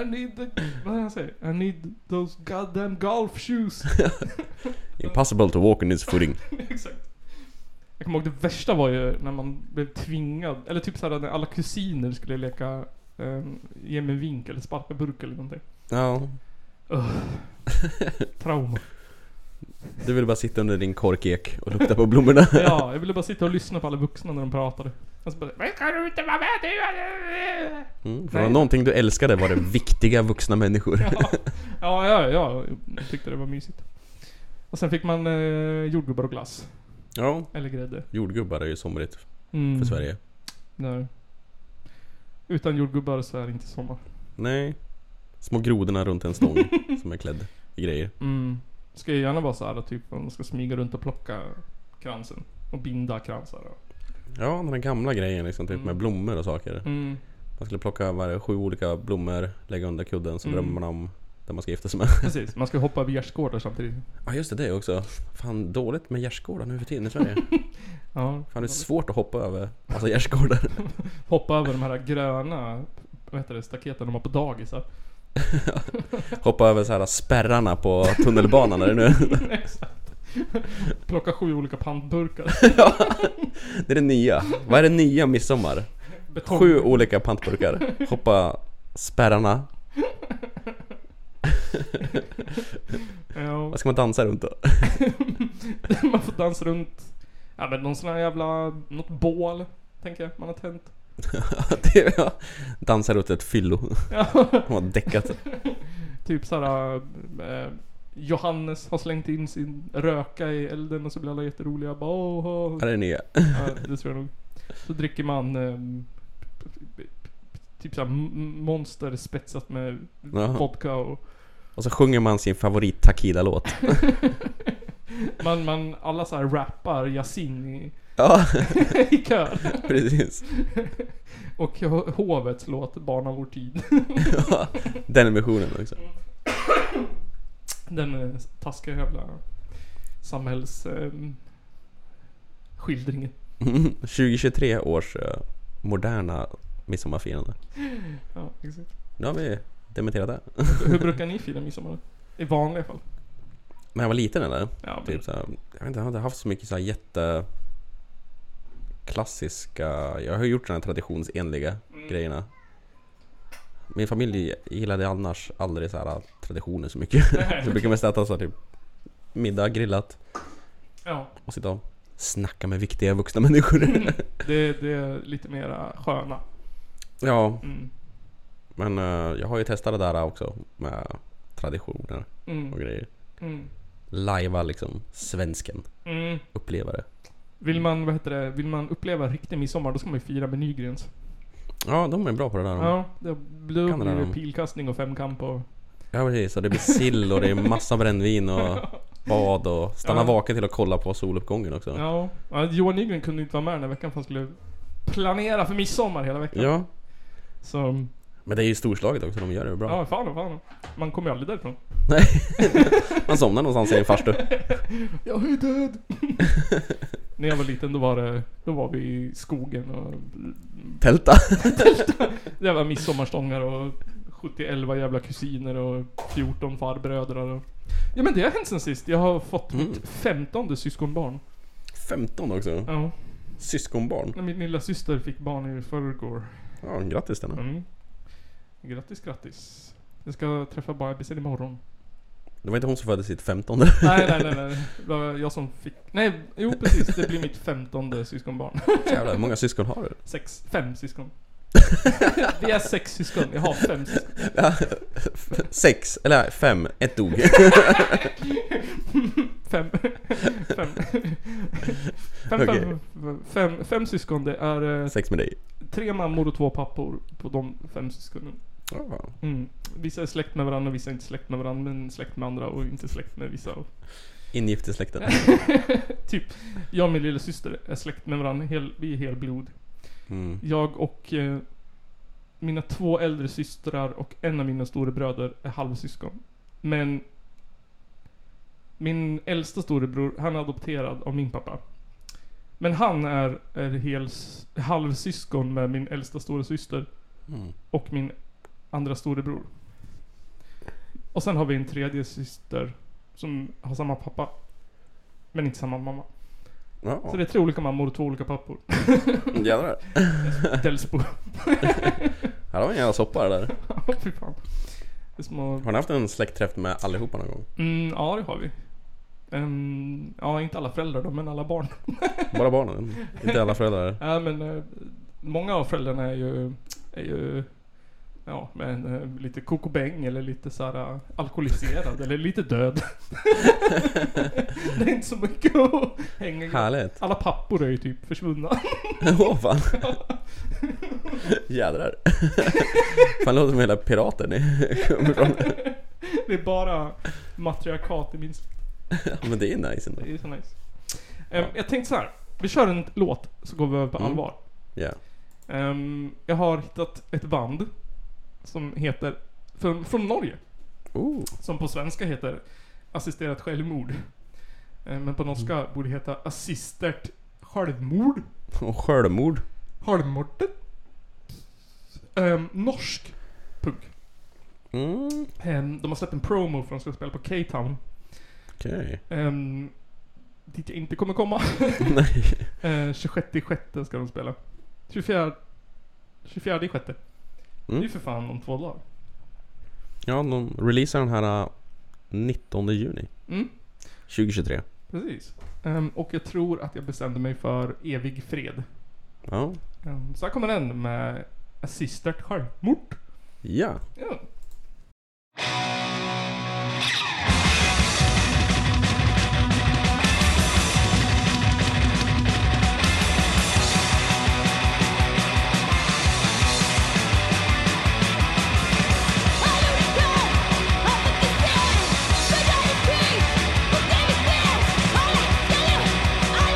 [SPEAKER 1] I need the... Vad är det han säger? I need those goddamn golf shoes.
[SPEAKER 2] Impossible to walk on this footing.
[SPEAKER 1] Exakt. Jag kommer ihåg det värsta var ju när man blev tvingad, eller typ såhär när alla kusiner skulle leka eh, ge mig en vink eller sparka burk eller någonting.
[SPEAKER 2] Ja.
[SPEAKER 1] Ugh. Trauma.
[SPEAKER 2] Du vill bara sitta under din korkek och lukta på blommorna.
[SPEAKER 1] Ja, jag ville bara sitta och lyssna på alla vuxna när de pratade. Och så bara, "Men kan du inte vara med nu?"
[SPEAKER 2] Mm, för det var
[SPEAKER 1] Nej.
[SPEAKER 2] någonting du älskade var det viktiga vuxna människor.
[SPEAKER 1] Ja, ja, ja, ja, jag tyckte det var mysigt. Och sen fick man eh, jordgubbar och glass.
[SPEAKER 2] Ja.
[SPEAKER 1] Eller grädde.
[SPEAKER 2] Jordgubbar är ju somrigt
[SPEAKER 1] Mm.
[SPEAKER 2] för Sverige.
[SPEAKER 1] Nej. Utan jordgubbar så är det inte sommar.
[SPEAKER 2] Nej. Små grodorna runt en stång som är klädd i grejer.
[SPEAKER 1] Mm. Ska ju gärna vara så här typ om man ska smyga runt och plocka kransen. Och binda kransar. och-
[SPEAKER 2] Ja, den här gamla grejen liksom, typ
[SPEAKER 1] Mm.
[SPEAKER 2] med blommor och saker.
[SPEAKER 1] Mm.
[SPEAKER 2] Man skulle plocka varje, sju olika blommor, lägga under kudden, så
[SPEAKER 1] Mm.
[SPEAKER 2] drömmer man om den man ska gifta sig med.
[SPEAKER 1] Precis, man ska hoppa över gärdsgårdar samtidigt.
[SPEAKER 2] Ja just det, det också. Fan dåligt med gärdsgårdar nu för tiden i Sverige.
[SPEAKER 1] Ja.
[SPEAKER 2] Fan det är svårt att hoppa över massa gärdsgårdar.
[SPEAKER 1] Hoppa över de här gröna, vad heter det, staketen de har på dagisar.
[SPEAKER 2] Hoppa över så här spärrarna på tunnelbanan är det nu.
[SPEAKER 1] Exakt. Plocka sju olika pantburkar.
[SPEAKER 2] Det är det nya. Vad är det nya midsommar?
[SPEAKER 1] Betong.
[SPEAKER 2] Sju olika pantburkar. Hoppa spärrarna.
[SPEAKER 1] Ja.
[SPEAKER 2] Vad ska man dansa runt då?
[SPEAKER 1] Man får dansa runt, ja men någon sån här jävla, något bål. Tänker jag, man har tänt.
[SPEAKER 2] Det är- ja. Dansa runt ett fyllo.
[SPEAKER 1] Ja.
[SPEAKER 2] De har däckat.
[SPEAKER 1] Typ såhär... Eh, Johannes har slängt in sin röka i elden och så blir alla jätteroliga. Bara, åh, åh.
[SPEAKER 2] Ja, det är nya.
[SPEAKER 1] Ja, det tror jag nog. Så dricker man... ehm, typ såhär m- monster spetsat med
[SPEAKER 2] Ja.
[SPEAKER 1] vodka och...
[SPEAKER 2] Och så sjunger man sin favorit Takida-låt.
[SPEAKER 1] Man, man, alla såhär rappar Yasin i,
[SPEAKER 2] Ja,
[SPEAKER 1] i kör.
[SPEAKER 2] precis.
[SPEAKER 1] Och ho- hovets låt Barn av vår tid.
[SPEAKER 2] Ja, Den versionen också.
[SPEAKER 1] Den eh, taskiga jävla samhälls... ehm, skildringen.
[SPEAKER 2] Mm, 2023 års eh, moderna midsommarfirande.
[SPEAKER 1] Ja, exakt.
[SPEAKER 2] Nu har vi dementerat det.
[SPEAKER 1] Hur brukar ni fira midsommar? I vanliga fall.
[SPEAKER 2] När jag var liten eller?
[SPEAKER 1] Ja,
[SPEAKER 2] typ så här, jag vet inte, jag har inte haft så mycket så här jätte... Klassiska... Jag har ju gjort såna här traditionsenliga
[SPEAKER 1] Mm.
[SPEAKER 2] grejerna. Min familj gillade annars aldrig så här traditioner så mycket. så vi brukar mest äta så här, typ middag, grillat.
[SPEAKER 1] Ja.
[SPEAKER 2] Och sitta och snacka med viktiga vuxna
[SPEAKER 1] Mm.
[SPEAKER 2] människor.
[SPEAKER 1] Det, det är lite mera sköna.
[SPEAKER 2] ja.
[SPEAKER 1] Mm.
[SPEAKER 2] Men eh, jag har ju testat det där också med traditioner
[SPEAKER 1] Mm.
[SPEAKER 2] och grejer.
[SPEAKER 1] Mm.
[SPEAKER 2] Lajva liksom svensken.
[SPEAKER 1] Mm.
[SPEAKER 2] Uppleva det.
[SPEAKER 1] Vill man, vad heter det, vill man uppleva riktig midsommar då ska man ju fira med Nygrens.
[SPEAKER 2] Ja, de är bra på det där. de.
[SPEAKER 1] Ja, det, då
[SPEAKER 2] Kan det
[SPEAKER 1] blir
[SPEAKER 2] där
[SPEAKER 1] det
[SPEAKER 2] de.
[SPEAKER 1] pilkastning och femkamp och...
[SPEAKER 2] Ja precis, och det blir sill och det är massa brännvin och bad och stanna
[SPEAKER 1] Ja.
[SPEAKER 2] vaken till att kolla på soluppgången också. Ja.
[SPEAKER 1] Ja. ja Johan Nygren kunde inte vara med den här veckan för han skulle planera för midsommar hela veckan. Så...
[SPEAKER 2] Men det är ju storslaget också, de gör det bra.
[SPEAKER 1] Ja, fan och fan. Man kommer ju aldrig därifrån.
[SPEAKER 2] Nej. Man somnar någonstans i en farstu.
[SPEAKER 1] Jag är död. När jag var liten då var det, då var vi i skogen och...
[SPEAKER 2] Tälta.
[SPEAKER 1] Tälta. Det var midsommarstångar och 71 jävla kusiner och 14 farbröder och... Ja men det har hänt sen sist. Jag har fått
[SPEAKER 2] Mm.
[SPEAKER 1] mitt femtonde syskonbarn.
[SPEAKER 2] 15 också.
[SPEAKER 1] Ja.
[SPEAKER 2] Syskonbarn.
[SPEAKER 1] När Min lilla syster fick barn i förrgår.
[SPEAKER 2] Ja, grattis Stenna.
[SPEAKER 1] Mm. Grattis, grattis. Jag ska träffa bebisen imorgon.
[SPEAKER 2] Det var inte hon som födde sitt 15
[SPEAKER 1] Nej, nej, nej, nej. Det var jag som fick... Nej, jo precis. Det blir mitt femtonde syskonbarn.
[SPEAKER 2] Jävlar, hur många syskon har du?
[SPEAKER 1] Sex, fem syskon. Vi är sex syskon, jag har fem syskon.
[SPEAKER 2] Ja, f- Sex, eller fem, ett dog.
[SPEAKER 1] Fem. Fem. Fem,
[SPEAKER 2] Okej.
[SPEAKER 1] fem, fem, fem syskon, det är eh,
[SPEAKER 2] Sex med dig.
[SPEAKER 1] tre mammor och två pappor på de fem syskonen.
[SPEAKER 2] Ja.
[SPEAKER 1] Mm. Vissa är släkt med varandra, vissa är inte släkt med varandra, men släkt med andra och inte släkt med vissa. Och...
[SPEAKER 2] Ingift i släkten.
[SPEAKER 1] typ, jag och min lilla syster är släkt med varandra, hel, vi är helblod.
[SPEAKER 2] Mm.
[SPEAKER 1] Jag och eh, mina två äldre systrar och en av mina storebröder är halvsyskon. Men min äldsta storebror, han är adopterad av min pappa. Men han är, är hels, halvsyskon med min äldsta storasyster
[SPEAKER 2] Mm.
[SPEAKER 1] och min andra storebror. Och sen har vi en tredje syster som har samma pappa. Men inte samma mamma.
[SPEAKER 2] Ja.
[SPEAKER 1] Så det är tre olika mammor och två olika pappor.
[SPEAKER 2] Jävlar.
[SPEAKER 1] Delsbo.
[SPEAKER 2] Här har vi en jävla soppa det där.
[SPEAKER 1] Ja, fy fan. Det är små...
[SPEAKER 2] Har ni haft en släktträff med allihopa någon gång?
[SPEAKER 1] Mm, ja, det har vi. Ehm, ja, inte alla föräldrar då, men alla barn.
[SPEAKER 2] Bara barnen? Inte alla föräldrar?
[SPEAKER 1] Ja, men eh, många av föräldrarna är ju... Är ju ja, men eh, lite kokobäng eller lite så här eh, alkoholiserad eller lite död. det är inte så mycket att hänga i.
[SPEAKER 2] Härligt.
[SPEAKER 1] Alla pappor är ju typ försvunna.
[SPEAKER 2] Åh fan. Jädrar. fan låter som hela pirater ni kommer från.
[SPEAKER 1] det är bara matriarkat i min släkt.
[SPEAKER 2] Ja, Men det är nice ändå.
[SPEAKER 1] Det är så nice. Ehm, Jag tänkte så här. Vi kör en låt så går vi över på
[SPEAKER 2] Mm.
[SPEAKER 1] allvar.
[SPEAKER 2] Ja.
[SPEAKER 1] Ehm, jag har hittat ett band som heter, från, från Norge,
[SPEAKER 2] Ooh.
[SPEAKER 1] som på svenska heter Assisterat självmord. Ehm, men på norska borde det heta Assistert självmord.
[SPEAKER 2] Och självmord.
[SPEAKER 1] Självmordet. Ehm, norsk punk.
[SPEAKER 2] Mm.
[SPEAKER 1] Ehm, de har släppt en promo för de ska spela på K-Town.
[SPEAKER 2] Okej.
[SPEAKER 1] Ehm, dit jag inte kommer komma.
[SPEAKER 2] Nej.
[SPEAKER 1] Eh, 26 sjätte ska de spela. 24 24 i sjätte. Det är ju för fan om två dagar.
[SPEAKER 2] Ja, de releasar den här äh, 19 juni
[SPEAKER 1] Mm.
[SPEAKER 2] 2023.
[SPEAKER 1] Precis. Ehm, och jag tror att jag bestämde mig för evig fred.
[SPEAKER 2] Ja.
[SPEAKER 1] Ehm, så här kommer den med Assistert självmord.
[SPEAKER 2] Ja.
[SPEAKER 1] Ja.
[SPEAKER 3] Yeah.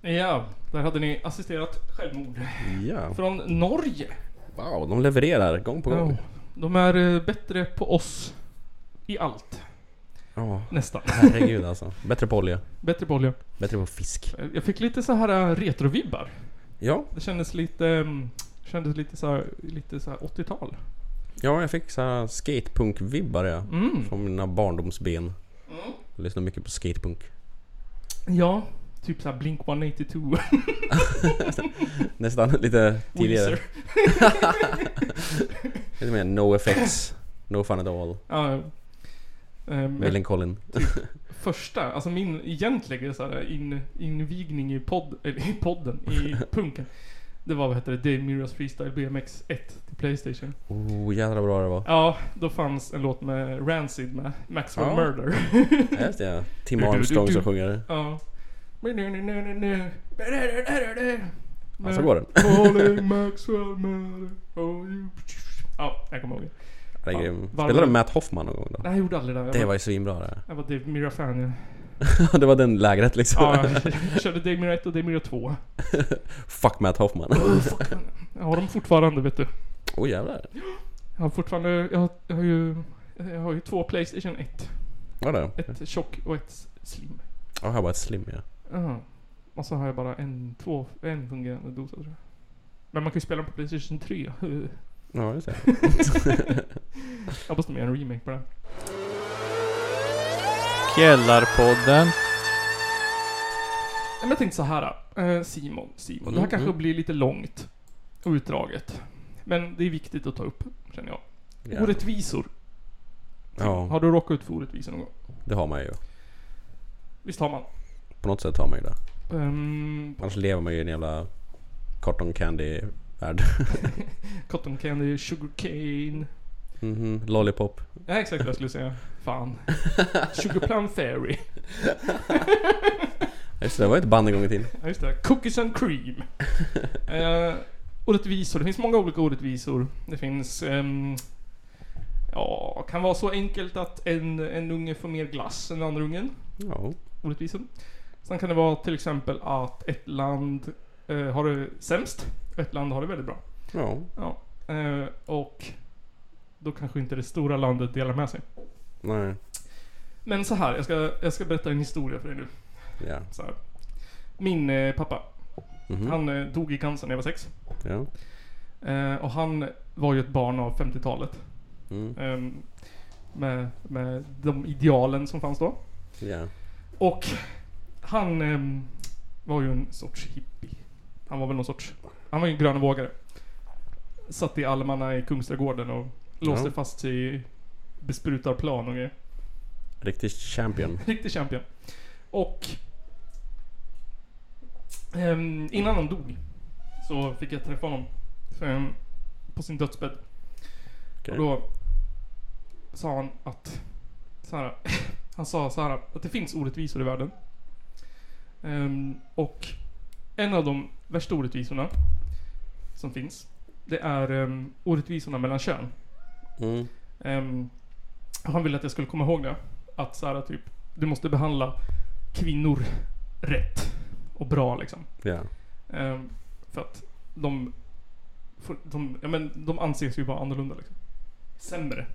[SPEAKER 1] Ja, där hade ni assisterat självmord.
[SPEAKER 2] Ja.
[SPEAKER 1] Från Norge.
[SPEAKER 2] Wow, de levererar gång på gång.
[SPEAKER 1] De är eh, bättre på oss i allt.
[SPEAKER 2] Ja.
[SPEAKER 1] Nästan.
[SPEAKER 2] Herregud alltså. Bättre på olja.
[SPEAKER 1] Bättre på olja.
[SPEAKER 2] Bättre på fisk.
[SPEAKER 1] Jag fick lite så här eh, retrovibbar.
[SPEAKER 2] Ja.
[SPEAKER 1] Det kändes lite... ehm, Kändes lite så här, lite så här 80-tal.
[SPEAKER 2] Ja, jag fick så här skatepunk-vibbar ja.
[SPEAKER 1] Mm.
[SPEAKER 2] Från mina barndomsben. Jag lyssnade mycket på skatepunk.
[SPEAKER 1] Ja, typ så här Blink 182.
[SPEAKER 2] Nästan lite tidigare.
[SPEAKER 1] Weezer.
[SPEAKER 2] lite mer no effects. No fun at all.
[SPEAKER 1] ja, ehm,
[SPEAKER 2] Millencolin.
[SPEAKER 1] första, alltså min egentliga så här, in, invigning i, podd, eller, i podden, i punken. Det var vad heter det? Dave Mirras Freestyle BMX 1 till Playstation.
[SPEAKER 2] Oh, jävlar vad bra det var.
[SPEAKER 1] Ja, då fanns en låt med Rancid med Maxwell
[SPEAKER 2] Ja.
[SPEAKER 1] Murder.
[SPEAKER 2] Ja, just det, ja. Tim Armstrong som sjunger det.
[SPEAKER 1] Ja.
[SPEAKER 2] Ja, så går den.
[SPEAKER 1] Calling Maxwell Murder. Oh, you. Ja, jag kommer ihåg det.
[SPEAKER 2] Det är
[SPEAKER 1] Fan,
[SPEAKER 2] grym.
[SPEAKER 1] varm-
[SPEAKER 2] Spelade du Matt Hoffman någon gång då?
[SPEAKER 1] Nej, jag gjorde aldrig det. Jag
[SPEAKER 2] Det
[SPEAKER 1] bara-
[SPEAKER 2] var ju svinbra det.
[SPEAKER 1] Jag var Dave Mirra-fan. ja.
[SPEAKER 2] det var den lägret liksom.
[SPEAKER 1] Ja, jag körde Dave Mirra 1 och Dave Mirra 2.
[SPEAKER 2] Fuck Matt Hoffman.
[SPEAKER 1] Oh, fuck, man. Jag har dem fortfarande vet du.
[SPEAKER 2] Åh jävlar.
[SPEAKER 1] Jag har fortfarande, jag har, jag har ju, jag har ju två Playstation 1.
[SPEAKER 2] Var det?
[SPEAKER 1] Ett tjock och ett slim.
[SPEAKER 2] Ja, här var ett slim ja.
[SPEAKER 1] Ja. Och så har jag bara en, två, en fungerande dosa tror jag. Men man kan ju spela den på Playstation 3.
[SPEAKER 2] Ja, just det.
[SPEAKER 1] jag måste med en remake på den.
[SPEAKER 10] Källarpodden.
[SPEAKER 1] Men jag tänkte så här. eh, Simon, Simon. Det här
[SPEAKER 10] Mm,
[SPEAKER 1] kanske
[SPEAKER 10] mm.
[SPEAKER 1] blir lite långt och utdraget. Men det är viktigt att ta upp, känner jag.
[SPEAKER 2] Ja.
[SPEAKER 1] Orättvisor.
[SPEAKER 2] Ja,
[SPEAKER 1] Har du råkat ut för orättvisor någon gång?
[SPEAKER 2] det har man ju.
[SPEAKER 1] Visst har man?
[SPEAKER 2] På något sätt har man ju det.
[SPEAKER 1] Ehm,
[SPEAKER 2] Annars lever man ju i en jävla cotton candy värld.
[SPEAKER 1] cotton candy, sugar cane.
[SPEAKER 2] Mhm, Lollipop.
[SPEAKER 1] Ja, exakt vad jag skulle säga. Fan. Sugar plum fairy.
[SPEAKER 2] Just det, det var ju ett band en gång i tiden.
[SPEAKER 1] Ja, just det. Cookies and cream. Eh, orättvisor. Det finns många olika orättvisor. Det finns... ehm, ja, kan vara så enkelt att en, en unge får mer glass än den andra ungen.
[SPEAKER 2] Ja.
[SPEAKER 1] Orättvisor. Sen kan det vara till exempel att ett land eh, har det sämst och ett land har det väldigt bra.
[SPEAKER 2] Ja.
[SPEAKER 1] Ja. Eh, och då kanske inte det stora landet delar med sig.
[SPEAKER 2] Nej.
[SPEAKER 1] Men så här, jag ska, jag ska berätta en historia för er nu.
[SPEAKER 2] Ja.
[SPEAKER 1] Så här. Min eh, pappa,
[SPEAKER 2] Mhm.
[SPEAKER 1] han eh, dog i cancer när jag var sex.
[SPEAKER 2] Ja.
[SPEAKER 1] Eh, och han var ju ett barn av 50-talet.
[SPEAKER 2] Mm.
[SPEAKER 1] Ehm, med, med de idealen som fanns då.
[SPEAKER 2] Ja.
[SPEAKER 1] Och han ehm, var ju en sorts hippie. Han var väl någon sorts... Han var ju en grönvågare. Satt i almarna i Kungsträdgården och låste
[SPEAKER 2] Ja.
[SPEAKER 1] fast sig i besprutarplan och grejer.
[SPEAKER 2] Riktig champion.
[SPEAKER 1] Riktig champion. Och... ehm, innan han dog så fick jag träffa honom ehm, på sin dödsbädd. Och då sa han att... Så här, han sa så här att det finns orättvisor i världen. Ehm, och en av de värsta orättvisorna som finns, det är um, orättvisorna mellan kön.
[SPEAKER 2] Mm.
[SPEAKER 1] Ehm, och han ville att jag skulle komma ihåg det. Att så här, typ, du måste behandla kvinnor rätt och bra liksom.
[SPEAKER 2] Ja.
[SPEAKER 1] Ehm, för att de, får- de, ja, men, de anses ju vara annorlunda liksom. Sämre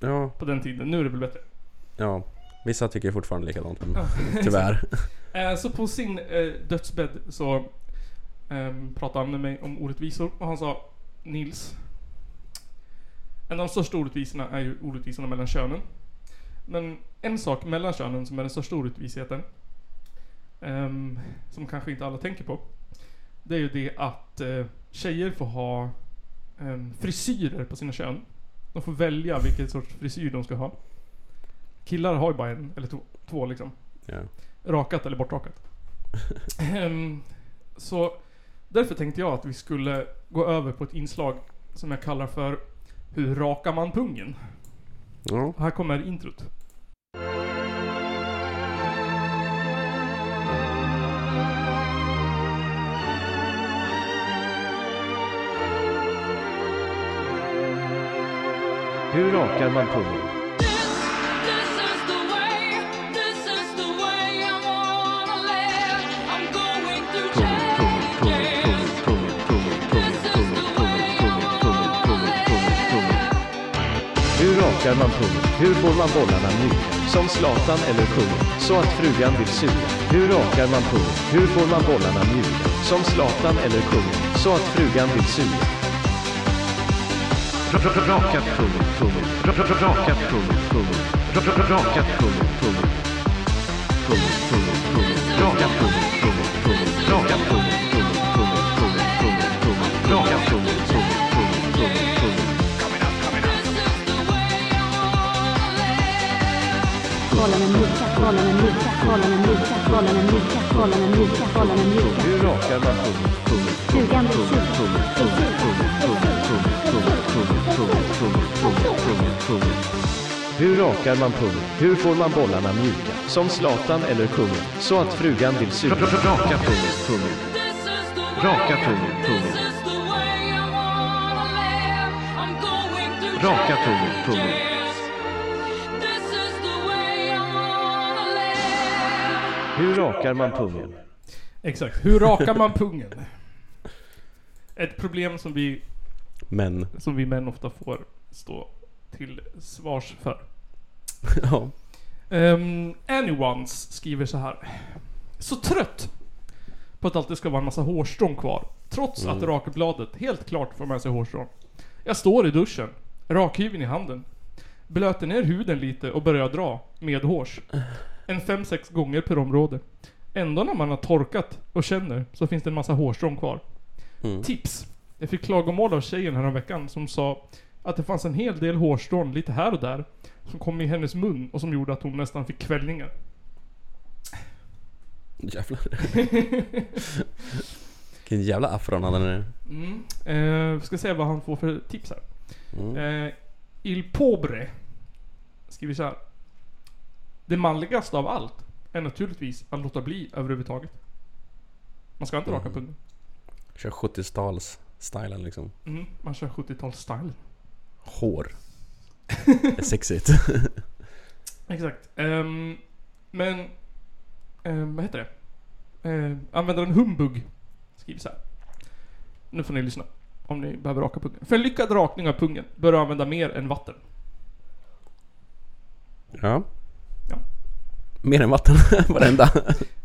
[SPEAKER 2] Ja.
[SPEAKER 1] på den tiden. Nu är det väl bättre.
[SPEAKER 2] Ja. Vissa tycker fortfarande likadant men
[SPEAKER 1] Ja,
[SPEAKER 2] tyvärr.
[SPEAKER 1] Eh, Så på sin eh, dödsbädd så ehm, pratade han med mig om orättvisor och han sa Nils. En av de största orättvisorna är ju orättvisorna mellan könen. Men en sak mellan könen som är den största orättvisheten ehm, som kanske inte alla tänker på. Det är ju det att eh, tjejer får ha ehm, frisyrer på sina kön. De får välja vilken sorts frisyr de ska ha. Killar har ju bara en eller två, två liksom.
[SPEAKER 2] Ja.
[SPEAKER 1] Rakat eller bortrakat. Ehm, så därför tänkte jag att vi skulle gå över på ett inslag som jag kallar för Hur rakar man pungen?
[SPEAKER 2] Ja.
[SPEAKER 1] Här kommer introt.
[SPEAKER 14] Hur rakar man pungen?
[SPEAKER 3] This is the way I wanna live. I'm going through
[SPEAKER 14] Pungen rakar man pungen? Hur får man bollarna mjuka? Som Zlatan eller kungen? Så att frugan vill suga. Hur rakar man pungen? Hur får man bollarna mjuka? Som Zlatan eller kungen? Så att frugan vill suga. Raka pungen, pungen. Raka pungen, pungen. Raka pungen, pungen. Pungen, pungen, pungen. Raka pungen, pungen, pungen. Raka pungen, pungen, pungen, pungen, pungen, pungen. Raka pungen, pungen, pungen, pungen, pungen.
[SPEAKER 15] Bollarna mjuka, bollarna mjuka, bollarna mjuka, bollarna mjuka, bollarna mjuka, bollarna mjuka.
[SPEAKER 14] Hur rakar man pungen, pungen, pungen, pungen, pungen, pungen, pungen, pungen, pungen, pungen, pungen, pungen, pungen, pungen, pungen, pungen. Hur rakar man pungen? Hur får man bollarna mjuka? Som Zlatan eller kungen? Så att frugan vill suga. Raka pungen, pungen. Raka pungen, pungen. Raka pungen, pungen. Hur rakar man pungen?
[SPEAKER 1] Exakt. Hur rakar man pungen? Ett problem som vi,
[SPEAKER 2] Men,
[SPEAKER 1] som vi män ofta får stå till svars för.
[SPEAKER 2] ja.
[SPEAKER 1] Um, Anyones skriver så här. Så trött på att alltid ska vara en massa hårstrån kvar. Trots att
[SPEAKER 2] Mm.
[SPEAKER 1] rakbladet helt klart får med sig hårstrån. Jag står i duschen, rakhyveln i handen. Blöter ner huden lite och börjar dra, med hårs. En 5-6 gånger per område. Ändå när man har torkat och känner så finns det en massa hårstrån kvar.
[SPEAKER 2] Mm.
[SPEAKER 1] Tips! Jag fick klagomål av tjejen häromveckan som sa att det fanns en hel del hårstrån lite här och där som kom i hennes mun och som gjorde att hon nästan fick kvällningar.
[SPEAKER 2] Jävlar. Vilken jävla afro han hade nu.
[SPEAKER 1] Mm. Eh, ska se vad han får för tips här. Eh, Il Pobre skriver så här. Det manligaste av allt är naturligtvis att låta bli överhuvudtaget. Man ska inte raka
[SPEAKER 2] Mm.
[SPEAKER 1] pungen.
[SPEAKER 2] Kör 70-tals-stylen liksom.
[SPEAKER 1] Mm. Man kör 70-tals-style.
[SPEAKER 2] Hår. Det är sexigt.
[SPEAKER 1] Exakt. Ehm, men... ehm, vad heter det? Uh, användaren Humbug skriver så här. Nu får ni lyssna. Om ni behöver raka pungen. För en lyckad rakning av pungen bör du använda mer än vatten.
[SPEAKER 2] Ja. Mer än vatten varenda.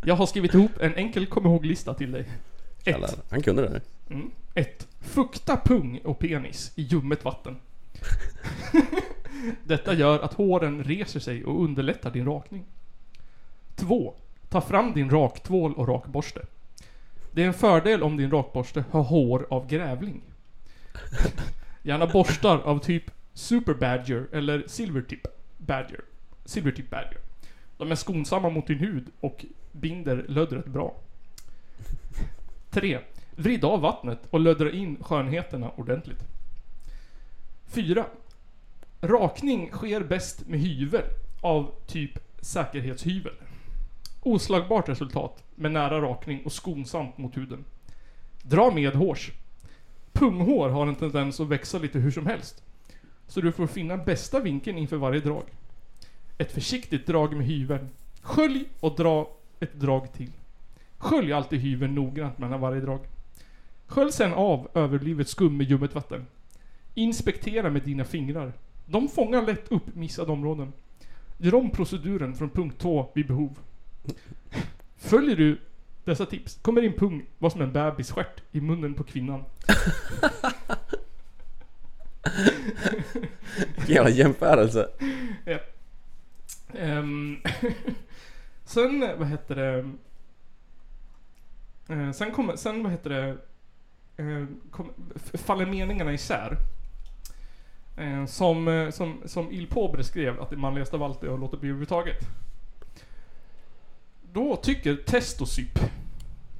[SPEAKER 1] Jag har skrivit ihop en enkel kom ihåg-lista till dig. 1.
[SPEAKER 2] Jävlar, han kunde det.
[SPEAKER 1] Mm. Ett. Fukta pung och penis i ljummet vatten. Detta gör att håren reser sig och underlättar din rakning. 2. Ta fram din raktvål och rakborste. Det är en fördel om din rakborste har hår av grävling. Gärna borstar av typ Super Badger eller Silvertip Badger. Silvertip Badger. De är skonsamma mot din hud och binder löddret bra. 3. Vrid av vattnet och löddra in skönheterna ordentligt. 4. Rakning sker bäst med hyvel av typ säkerhetshyvel. Oslagbart resultat med nära rakning och skonsamt mot huden. Dra med hårs. Punghår har en tendens att växa lite hur som helst. Så du får finna bästa vinkeln inför varje drag. Ett försiktigt drag med hyveln. Skölj och dra ett drag till. Skölj alltid hyveln noggrant mellan varje drag. Skölj sen av överblivet skum med ljummet vatten. Inspektera med dina fingrar. De fångar lätt upp missade områden. Gör om proceduren från punkt 2 vid behov. Följer du dessa tips kommer din pung vara som en bebisstjärt i munnen på kvinnan.
[SPEAKER 2] Vilken jävla jämförelse.
[SPEAKER 1] Ja. Ehm, sen, vad heter det? Eh, sen kommer, sen vad heter det? Eh, kom, f- faller meningarna isär. Eh, som, eh, som, som Il Pobre skrev att det manligaste av allt är att låta bli överhuvudtaget. Då tycker Testosyp,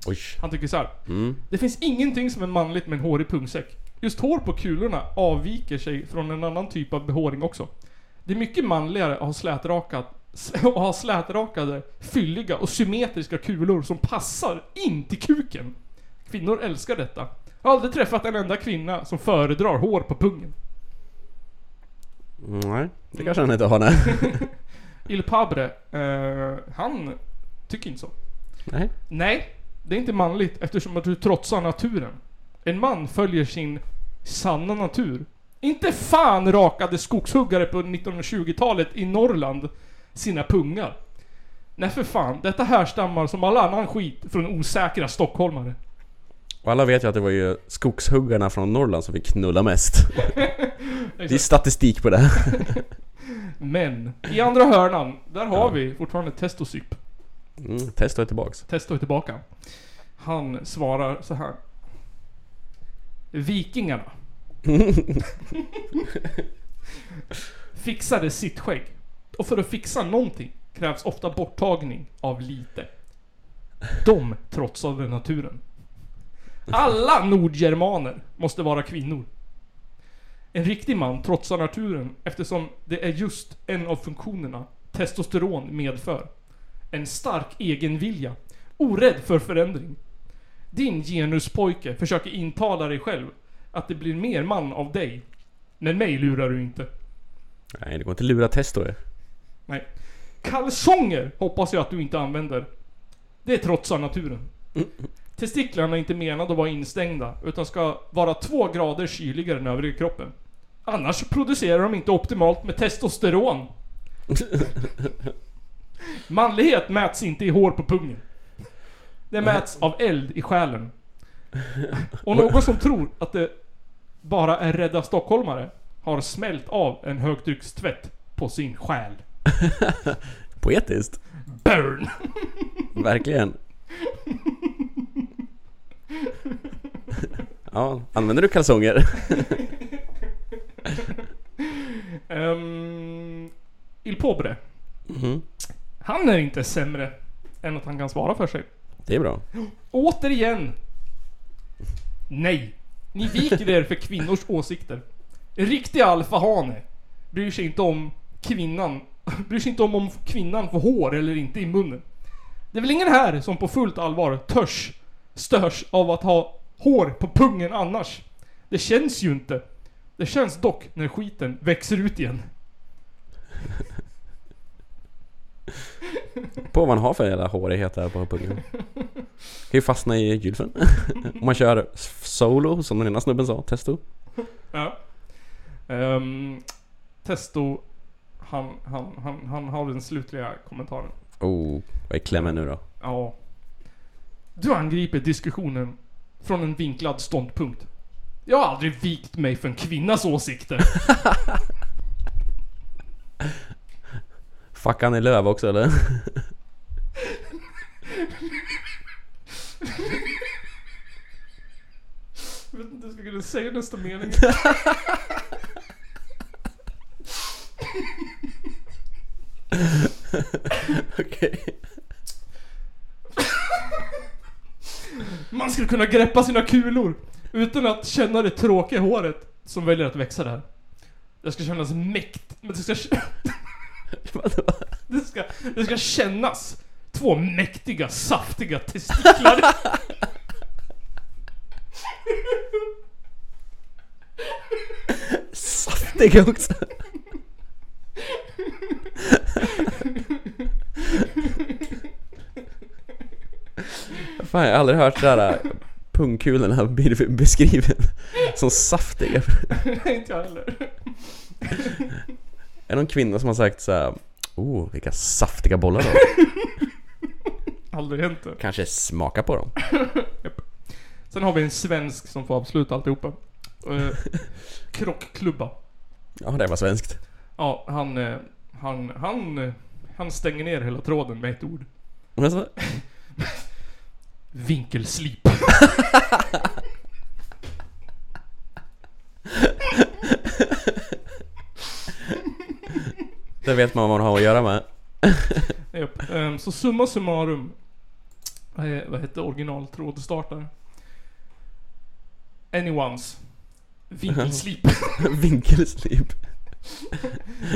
[SPEAKER 2] Oj.
[SPEAKER 1] han tycker så här.
[SPEAKER 2] Mm.
[SPEAKER 1] Det finns ingenting som är manligt med en hårig pungsäck. Just hår på kulorna avviker sig från en annan typ av behåring också. Det är mycket manligare att ha, slätrakat, att ha slätrakade, fylliga och symmetriska kulor som passar in till kuken. Kvinnor älskar detta. Jag har aldrig träffat en enda kvinna som föredrar hår på pungen.
[SPEAKER 2] Nej, det kanske han inte har nej.
[SPEAKER 1] Il Pabre, eh, han tycker inte så.
[SPEAKER 2] Nej.
[SPEAKER 1] Nej, det är inte manligt eftersom att du trotsar naturen. En man följer sin sanna natur Inte fan rakade skogshuggare på 1920-talet i Norrland sina pungar. Nej för fan, detta härstammar som all annan skit från osäkra stockholmare.
[SPEAKER 2] Och alla vet ju att det var ju skogshuggarna från Norrland som fick knulla mest. det är statistik på det. här.
[SPEAKER 1] Men, i andra hörnan, där har vi fortfarande Testosyp.
[SPEAKER 2] Mm, testa tillbaks.
[SPEAKER 1] Testo är tillbaka. Han svarar så här. Vikingarna. Fixade sitt skägg. Och för att fixa någonting krävs ofta borttagning av lite. De trotsade naturen. Alla nordgermaner måste vara kvinnor. En riktig man trotsar naturen eftersom det är just en av funktionerna testosteron medför. En stark egenvilja. Orädd för förändring. Din genuspojke försöker intala dig själv att det blir mer man av dig. Men mig lurar du inte.
[SPEAKER 2] Nej, det går inte att lura Testo det.
[SPEAKER 1] Nej. Kalsonger hoppas jag att du inte använder. Det trotsar naturen. Testiklarna är inte menade att vara instängda utan ska vara två grader kyligare än övriga kroppen. Annars producerar de inte optimalt med testosteron. Manlighet mäts inte i hår på pungen. Det mäts av eld i själen. Och någon som tror att det bara är rädda stockholmare har smält av en högtryckstvätt på sin själ.
[SPEAKER 2] Poetiskt.
[SPEAKER 1] Burn!
[SPEAKER 2] Verkligen. Ja, använder du kalsonger?
[SPEAKER 1] Ehm, Il Pobre.
[SPEAKER 2] Mhm.
[SPEAKER 1] Han är inte sämre än att han kan svara för sig.
[SPEAKER 2] Det är bra.
[SPEAKER 1] Återigen. Nej. Ni viker er för kvinnors åsikter. En riktig alfahane bryr sig inte om kvinnan. Bryr sig inte om om kvinnan får hår eller inte i munnen. Det är väl ingen här som på fullt allvar törs, störs av att ha hår på pungen annars. Det känns ju inte. Det känns dock när skiten växer ut igen.
[SPEAKER 2] På vad man har för jävla hårighet där på pungen. Kan ju fastna i gylfen. Om man kör solo, som den ena snubben sa, testo.
[SPEAKER 1] Ja. Ehm, testo, han, han, han, han har den slutliga kommentaren.
[SPEAKER 2] Oh, vad är klämmen nu då?
[SPEAKER 1] Ja. Du angriper diskussionen från en vinklad ståndpunkt. Jag har aldrig vikt mig för en kvinnas åsikter.
[SPEAKER 2] Fuck, han är löv också eller?
[SPEAKER 1] Jag vet inte hur jag ska kunna säga nästa mening.
[SPEAKER 2] Okej.
[SPEAKER 1] Man skulle kunna greppa sina kulor utan att känna det tråkiga håret som väljer att växa där. Det ska kännas mäkt... Men det ska... Det ska, det ska kännas två mäktiga, saftiga testiklar.
[SPEAKER 2] Saftiga också. Fan, jag har aldrig hört det där äh, pungkulorna bli beskriven som saftiga.
[SPEAKER 1] Nej, inte jag heller.
[SPEAKER 2] Är det någon kvinna som har sagt så här, Oh, vilka saftiga bollar då.
[SPEAKER 1] Aldrig hänt det.
[SPEAKER 2] Kanske smaka på dem.
[SPEAKER 1] Sen har vi en svensk som får avsluta alltihopa. Eh, krockklubba.
[SPEAKER 2] Ja, det var svenskt.
[SPEAKER 1] Ja, han, eh, han, han, eh, han stänger ner hela tråden med ett ord.
[SPEAKER 2] Men alltså, så-
[SPEAKER 1] Vinkelslip.
[SPEAKER 2] Där vet man vad man har att göra med.
[SPEAKER 1] Japp. Ehm, Så summa summarum. Eh, Vad hette originaltrådstartare? Anyone's. Vinkelslip.
[SPEAKER 2] Vinkelslip.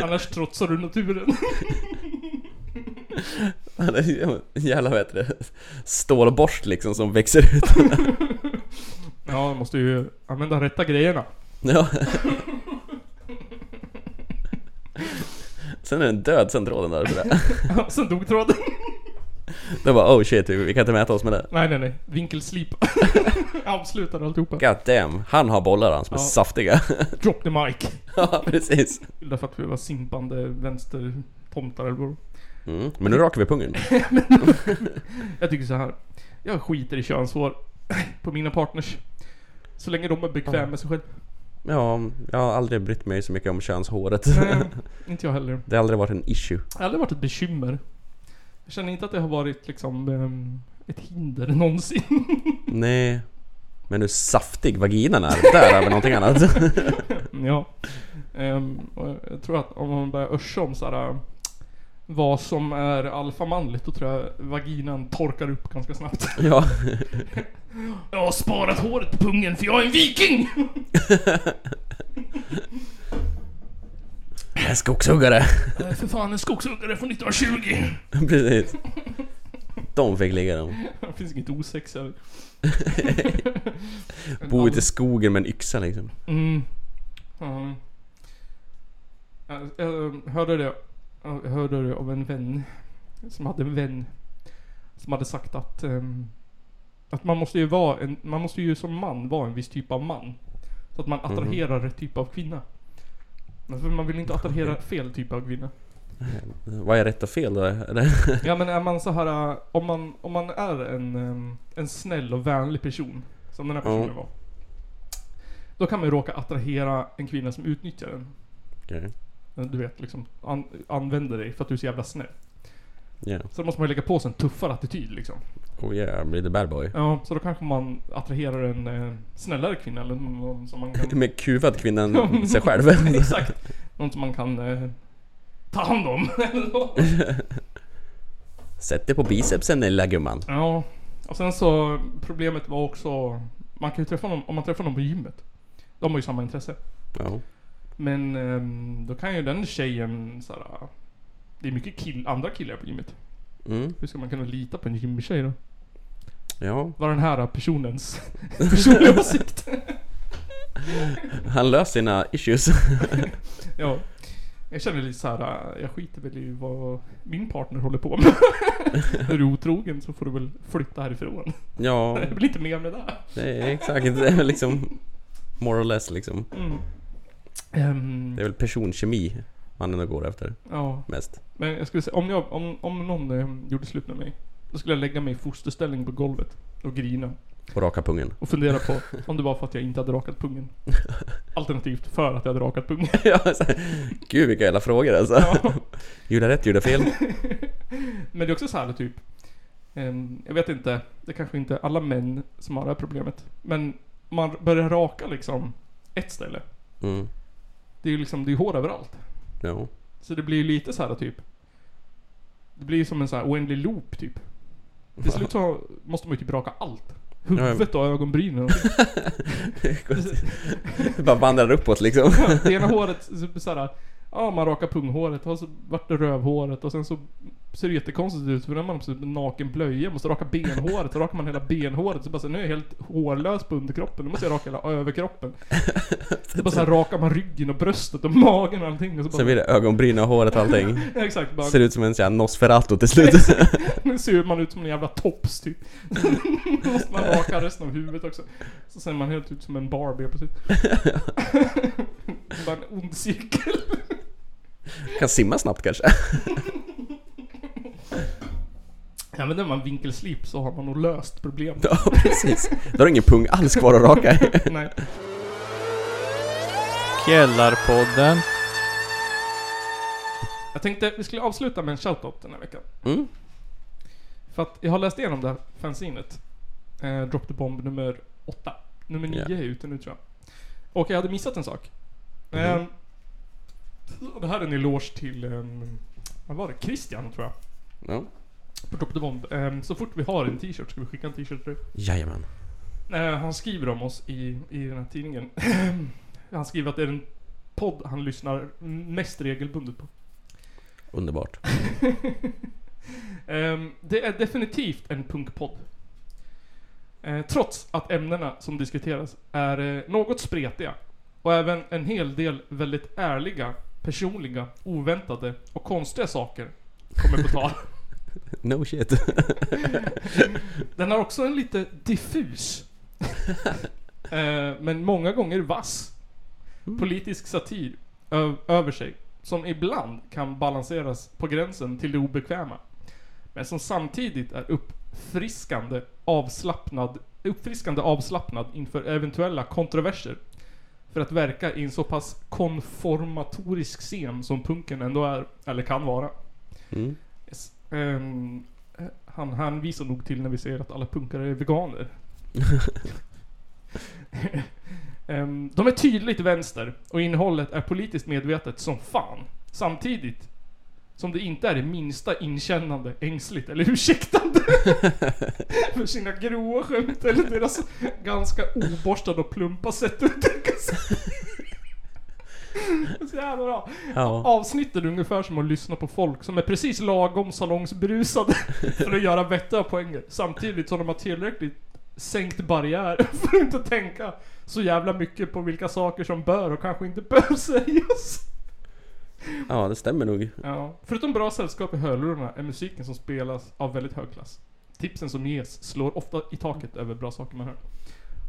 [SPEAKER 1] Annars trotsar du naturen.
[SPEAKER 2] Han är ju en jävla vad heter det? Stålborst liksom som växer ut.
[SPEAKER 1] Ja, man måste ju använda rätta grejerna.
[SPEAKER 2] Ja. Sen är den död sen tråden där. Sådär.
[SPEAKER 1] Sen dog tråden.
[SPEAKER 2] De bara oh shit, vi vi kan inte mäta oss med det.
[SPEAKER 1] Nej, nej, nej. Vinkelslip. Avslutar alltihopa.
[SPEAKER 2] God damn, han har bollar han som är
[SPEAKER 1] Ja.
[SPEAKER 2] saftiga.
[SPEAKER 1] Drop the mic.
[SPEAKER 2] ja, precis.
[SPEAKER 1] Därför att vi var simpande vänstertomtar eller vad
[SPEAKER 2] Mm. Men nu rakar vi pungen.
[SPEAKER 1] Jag tycker så här. Jag skiter i könshår på mina partners. Så länge de är bekväma med sig själv.
[SPEAKER 2] Ja, jag har aldrig brytt mig så mycket om könshåret.
[SPEAKER 1] Nej, inte jag heller.
[SPEAKER 2] Det har aldrig varit en issue.
[SPEAKER 1] Det har aldrig varit ett bekymmer. Jag känner inte att det har varit liksom ehm, ett hinder någonsin.
[SPEAKER 2] Nej. Men hur saftig vaginan är, där är väl någonting annat.
[SPEAKER 1] ja. Ehm, och jag tror att om man börjar örsa om så här, äh, vad som är alfamanligt, då tror jag vaginan torkar upp ganska snabbt.
[SPEAKER 2] ja.
[SPEAKER 1] Jag har sparat håret på pungen för jag är en viking!
[SPEAKER 2] Jag är skogshuggare.
[SPEAKER 1] Jag är för fan en skogshuggare från 1920!
[SPEAKER 2] precis. De fick ligga dem.
[SPEAKER 1] Det finns inget osex här.
[SPEAKER 2] Bo ute i skogen med en yxa liksom.
[SPEAKER 1] Mm. Ja. Jag, jag eh, hörde det. Jag hörde det av en vän. Som hade en vän. Som hade sagt att... ehm, att man måste ju vara en... Man måste ju som man vara en viss typ av man. Så att man attraherar rätt typ av kvinna. Men För man vill inte attrahera fel typ av kvinna.
[SPEAKER 2] Vad är rätt och fel då? Eller?
[SPEAKER 1] Ja men är man så här äh, om man, om man är en, ehm, en snäll och vänlig person, som den här personen
[SPEAKER 2] Ja.
[SPEAKER 1] var. Då kan man ju råka attrahera en kvinna som utnyttjar en.
[SPEAKER 2] Okej.
[SPEAKER 1] Du vet liksom, an, använder dig för att du är så jävla snäll.
[SPEAKER 2] Ja.
[SPEAKER 1] Så då måste man ju lägga på sig en tuffare attityd liksom.
[SPEAKER 2] Oh yeah, blir the bad boy.
[SPEAKER 1] Ja, så då kanske man attraherar en eh, snällare kvinna eller någon som man kan...
[SPEAKER 2] Med kuvad kvinnan sig själv.
[SPEAKER 1] Exakt. Någon som man kan eh, ta hand om. eller något.
[SPEAKER 2] Sätt dig på bicepsen lilla gumman.
[SPEAKER 1] Ja, och sen så problemet var också... Man kan ju träffa någon, om man träffar någon på gymmet. De har ju samma intresse.
[SPEAKER 2] Ja.
[SPEAKER 1] Men ehm, då kan ju den tjejen såhär... Det är mycket kill, andra killar på gymmet.
[SPEAKER 2] Mm.
[SPEAKER 1] Hur ska man kunna lita på en gymtjej då?
[SPEAKER 2] Ja.
[SPEAKER 1] Var den här personens personliga åsikt.
[SPEAKER 2] Han löser sina issues.
[SPEAKER 1] ja. Jag känner lite så här. äh, jag skiter väl i vad min partner håller på med. Är du otrogen så får du väl flytta härifrån.
[SPEAKER 2] Ja.
[SPEAKER 1] Det blir inte mer med det.
[SPEAKER 2] Det är exakt. Det är väl liksom... More or less liksom.
[SPEAKER 1] Mm. Ehm,
[SPEAKER 2] Det är väl personkemi man ändå går efter.
[SPEAKER 1] Ja.
[SPEAKER 2] Mest.
[SPEAKER 1] Men jag skulle säga, om, jag, om, om någon eh, gjorde slut med mig. Då skulle jag lägga mig i fosterställning på golvet och grina.
[SPEAKER 2] Och raka pungen.
[SPEAKER 1] Och fundera på om det var för att jag inte hade rakat pungen. Alternativt för att jag hade rakat pungen.
[SPEAKER 2] Ja, så här, Gud vilka jävla frågor alltså.
[SPEAKER 1] Ja.
[SPEAKER 2] Gjorde jag rätt, gjorde jag fel?
[SPEAKER 1] Men det är också så här typ. ehm, Jag vet inte. Det kanske inte är alla män som har det här problemet. Men man börjar raka liksom ett ställe.
[SPEAKER 2] Mm.
[SPEAKER 1] Det är ju liksom, det är ju hår överallt.
[SPEAKER 2] Ja.
[SPEAKER 1] Så det blir ju lite så här typ. Det blir ju som en så här oändlig loop typ. Till slut så måste man ju typ raka allt. Huvudet och ögonbrynen. och-
[SPEAKER 2] Bara vandrar uppåt liksom.
[SPEAKER 1] Det ena håret, så- så här, ja man rakar punghåret och så vart det rövhåret och sen så ser det jättekonstigt ut för när man har typ en naken blöja måste raka benhåret, så rakar man hela benhåret så bara så här, nu är jag helt hårlös på underkroppen, nu måste jag raka hela överkroppen. Så bara så här, rakar man ryggen och bröstet och magen och allting och så bara,
[SPEAKER 2] Sen blir det ögonbryn och håret och allting.
[SPEAKER 1] Ja, exakt, bara-
[SPEAKER 2] Ser ut som en sån här Nosferatu till slut.
[SPEAKER 1] nu ser man ut som en jävla tops typ. Då måste man raka resten av huvudet också. Så ser man helt ut som en Barbie precis. bara en ond cirkel.
[SPEAKER 2] Kan simma snabbt kanske.
[SPEAKER 1] Använder man vinkelslip så har man nog löst problemet.
[SPEAKER 2] Ja, precis. Då har du ingen pung alls kvar att raka.
[SPEAKER 1] Nej.
[SPEAKER 10] Källarpodden.
[SPEAKER 1] Jag tänkte vi skulle avsluta med en shoutout den här veckan.
[SPEAKER 2] Mm.
[SPEAKER 1] För att jag har läst igenom det här fanzinet. Eh, Drop the Bomb nummer åtta. Nummer nio
[SPEAKER 2] Ja.
[SPEAKER 1] är ute nu tror jag. Och jag hade missat en sak.
[SPEAKER 2] Mhm.
[SPEAKER 1] Ehm, och det här är en eloge till, ehm, vad var det? Christian tror jag.
[SPEAKER 2] Ja.
[SPEAKER 1] På Drop the Bomb. Ehm, så fort vi har en t-shirt ska vi skicka en t-shirt till dig.
[SPEAKER 2] Jajamän.
[SPEAKER 1] Eh, han skriver om oss i, i den här tidningen. han skriver att det är den podd han lyssnar mest regelbundet på.
[SPEAKER 2] Underbart.
[SPEAKER 1] Ehm, det är definitivt en punkpodd. Eh, trots att ämnena som diskuteras är eh, något spretiga och även en hel del väldigt ärliga, personliga, oväntade och konstiga saker kommer på tal.
[SPEAKER 2] No shit.
[SPEAKER 1] Den har också en lite diffus. eh, men många gånger vass. Politisk satir ö- över sig. Som ibland kan balanseras på gränsen till det obekväma. Men som samtidigt är uppfriskande avslappnad, uppfriskande avslappnad inför eventuella kontroverser. För att verka i en så pass konformatorisk scen som punken ändå är, eller kan vara.
[SPEAKER 2] Mm.
[SPEAKER 1] Yes. Ehm, eh, han hänvisar nog till när vi säger att alla punkare är veganer. Ehm, de är tydligt vänster och innehållet är politiskt medvetet som fan. Samtidigt som det inte är det minsta inkännande, ängsligt eller ursäktande för sina grova skämt eller deras ganska oborstade och plumpa sätt att uttrycka sig. Så jävla bra.
[SPEAKER 2] Ja.
[SPEAKER 1] Avsnittet är ungefär som att lyssna på folk som är precis lagom salongsberusade för att göra vettiga poänger samtidigt som de har tillräckligt sänkt barriär för att inte tänka så jävla mycket på vilka saker som bör och kanske inte bör sägas.
[SPEAKER 2] Ja, det stämmer nog.
[SPEAKER 1] Ja. Förutom bra sällskap i hörlurarna är musiken som spelas av väldigt hög klass. Tipsen som ges slår ofta i taket över bra saker man hör.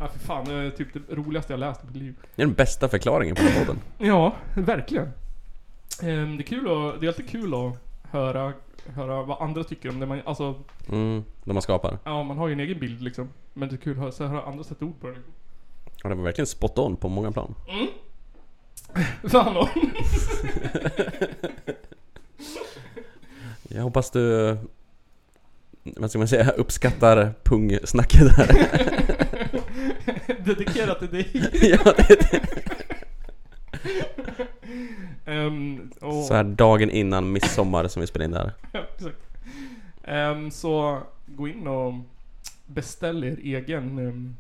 [SPEAKER 1] Ja, för fan, det är typ det roligaste jag läst i mitt liv.
[SPEAKER 2] Det är den bästa förklaringen på den här podden.
[SPEAKER 1] Ja, verkligen. Ehm, Det är kul att, det är alltid kul att höra, höra vad andra tycker om det man, alltså,
[SPEAKER 2] Mm, de man skapar.
[SPEAKER 1] ja man har ju en egen bild liksom. Men det är kul att höra, så här höra andra sätta ord på det liksom.
[SPEAKER 2] Ja, det var verkligen spot on på många plan.
[SPEAKER 1] Mm. Fan om.
[SPEAKER 2] Jag hoppas du... Vad ska man säga? Uppskattar pungsnacket där.
[SPEAKER 1] Dedikerat till dig.
[SPEAKER 2] Ja, det-
[SPEAKER 1] Ehm, och-
[SPEAKER 2] Så här dagen innan midsommar som vi spelar in det här.
[SPEAKER 1] Ja, exakt. Ehm, så gå in och beställ er egen um,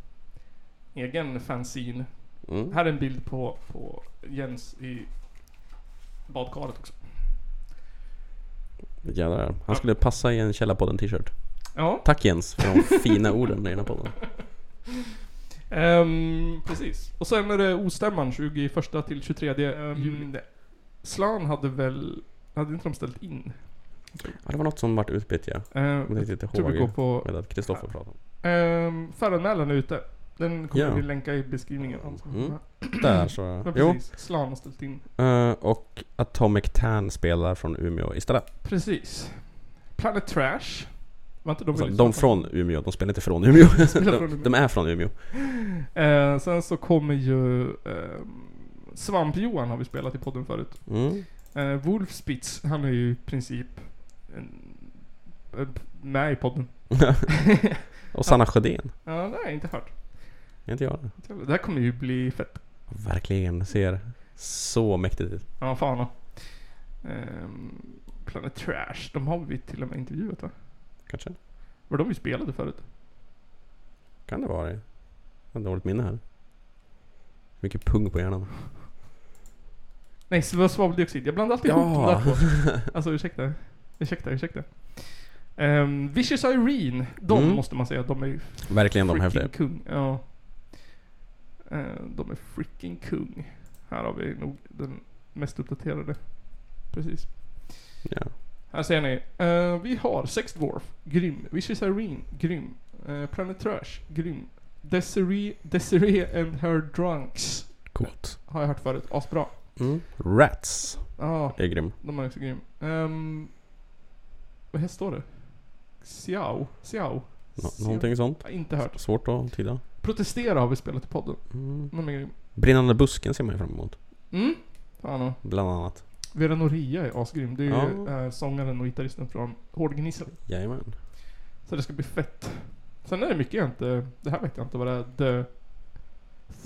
[SPEAKER 1] egen fanzine.
[SPEAKER 2] Mm.
[SPEAKER 1] Här är en bild på, på Jens i badkaret också.
[SPEAKER 2] Jävlar. Han skulle passa i en Källarpodden t-shirt.
[SPEAKER 1] Ja.
[SPEAKER 2] Tack Jens för de fina orden i den här podden.
[SPEAKER 1] Ehm, precis. Och sen är det ostämman 21 till 23 juni. Slan hade väl... Hade inte de ställt in?
[SPEAKER 2] Ja, det var något som vart utbytt ja.
[SPEAKER 1] Eh,
[SPEAKER 2] Jag kommer inte
[SPEAKER 1] tror vi går
[SPEAKER 2] ihåg.
[SPEAKER 1] på-
[SPEAKER 2] Med att Kristoffer pratade om.
[SPEAKER 1] Um, Föranmälan är ute. Den kommer
[SPEAKER 2] Ja.
[SPEAKER 1] vi länka i beskrivningen.
[SPEAKER 2] Mm. Där så.
[SPEAKER 1] Ja,
[SPEAKER 2] Jo.
[SPEAKER 1] precis. Slan har ställt in.
[SPEAKER 2] Eh, och Atomic Tan spelar från Umeå istället.
[SPEAKER 1] Precis. Planet Trash. Var inte de vi
[SPEAKER 2] Alltså,
[SPEAKER 1] lyssnade
[SPEAKER 2] de
[SPEAKER 1] på?
[SPEAKER 2] från Umeå, de spelar inte från Umeå.
[SPEAKER 1] De spelar från
[SPEAKER 2] De,
[SPEAKER 1] Umeå.
[SPEAKER 2] de är från Umeå.
[SPEAKER 1] Eh, sen så kommer ju eh, Svamp-Johan har vi spelat i podden förut.
[SPEAKER 2] Mm.
[SPEAKER 1] Eh, Wolfspitz, han är ju i princip en, en, med i podden.
[SPEAKER 2] Och Sanna Sjödén.
[SPEAKER 1] Ja, det har jag inte hört.
[SPEAKER 2] Är inte jag det?
[SPEAKER 1] Det här kommer ju bli fett.
[SPEAKER 2] Verkligen. Ser så mäktigt ut.
[SPEAKER 1] Ja, fan. ja. Ehm, Planet Trash, de har vi till och med intervjuat va?
[SPEAKER 2] Kanske.
[SPEAKER 1] Var de vi spelade förut?
[SPEAKER 2] Kan det vara det? Jag har dåligt minne här. Mycket pung på hjärnan.
[SPEAKER 1] Nej, det var svaveldioxid. Jag blandar alltid
[SPEAKER 2] Ja.
[SPEAKER 1] ihop de där två. Alltså ursäkta. Ursäkta, ursäkta. Um, Vicious Irene, de
[SPEAKER 2] Mm.
[SPEAKER 1] måste man säga, de är ju
[SPEAKER 2] Verkligen de
[SPEAKER 1] freaking
[SPEAKER 2] häftiga.
[SPEAKER 1] kung. Ja. Eh, de är freaking kung. Här har vi nog den mest uppdaterade. Precis.
[SPEAKER 2] Ja.
[SPEAKER 1] Här ser ni. Eh, vi har Sex Dwarf, grym. Vicious Irene, grym. Eh, Planet Trash, grym. Desiree, Desiree and her drunks.
[SPEAKER 2] Coolt.
[SPEAKER 1] Har jag hört förut. Asbra.
[SPEAKER 2] Mm. Rats.
[SPEAKER 1] Ja.
[SPEAKER 2] Det är grym.
[SPEAKER 1] De är också grym. Ehm, vad här står det? Xiao? Xiao?
[SPEAKER 2] Nå- någonting sånt.
[SPEAKER 1] Jag har inte hört.
[SPEAKER 2] S- Svårt att tyda.
[SPEAKER 1] Protestera har vi spelat i podden.
[SPEAKER 2] Mm.
[SPEAKER 1] De är grym.
[SPEAKER 2] Brinnande busken ser man ju fram emot.
[SPEAKER 1] Mm. Fan och.
[SPEAKER 2] Bland annat.
[SPEAKER 1] Vera Noria är asgrym. Det är ju
[SPEAKER 2] Ja.
[SPEAKER 1] eh, sångaren och gitarristen från Hårdgnissan.
[SPEAKER 2] Jajamän.
[SPEAKER 1] Så det ska bli fett. Sen är det mycket jag inte... Det här vet jag inte vad det är. The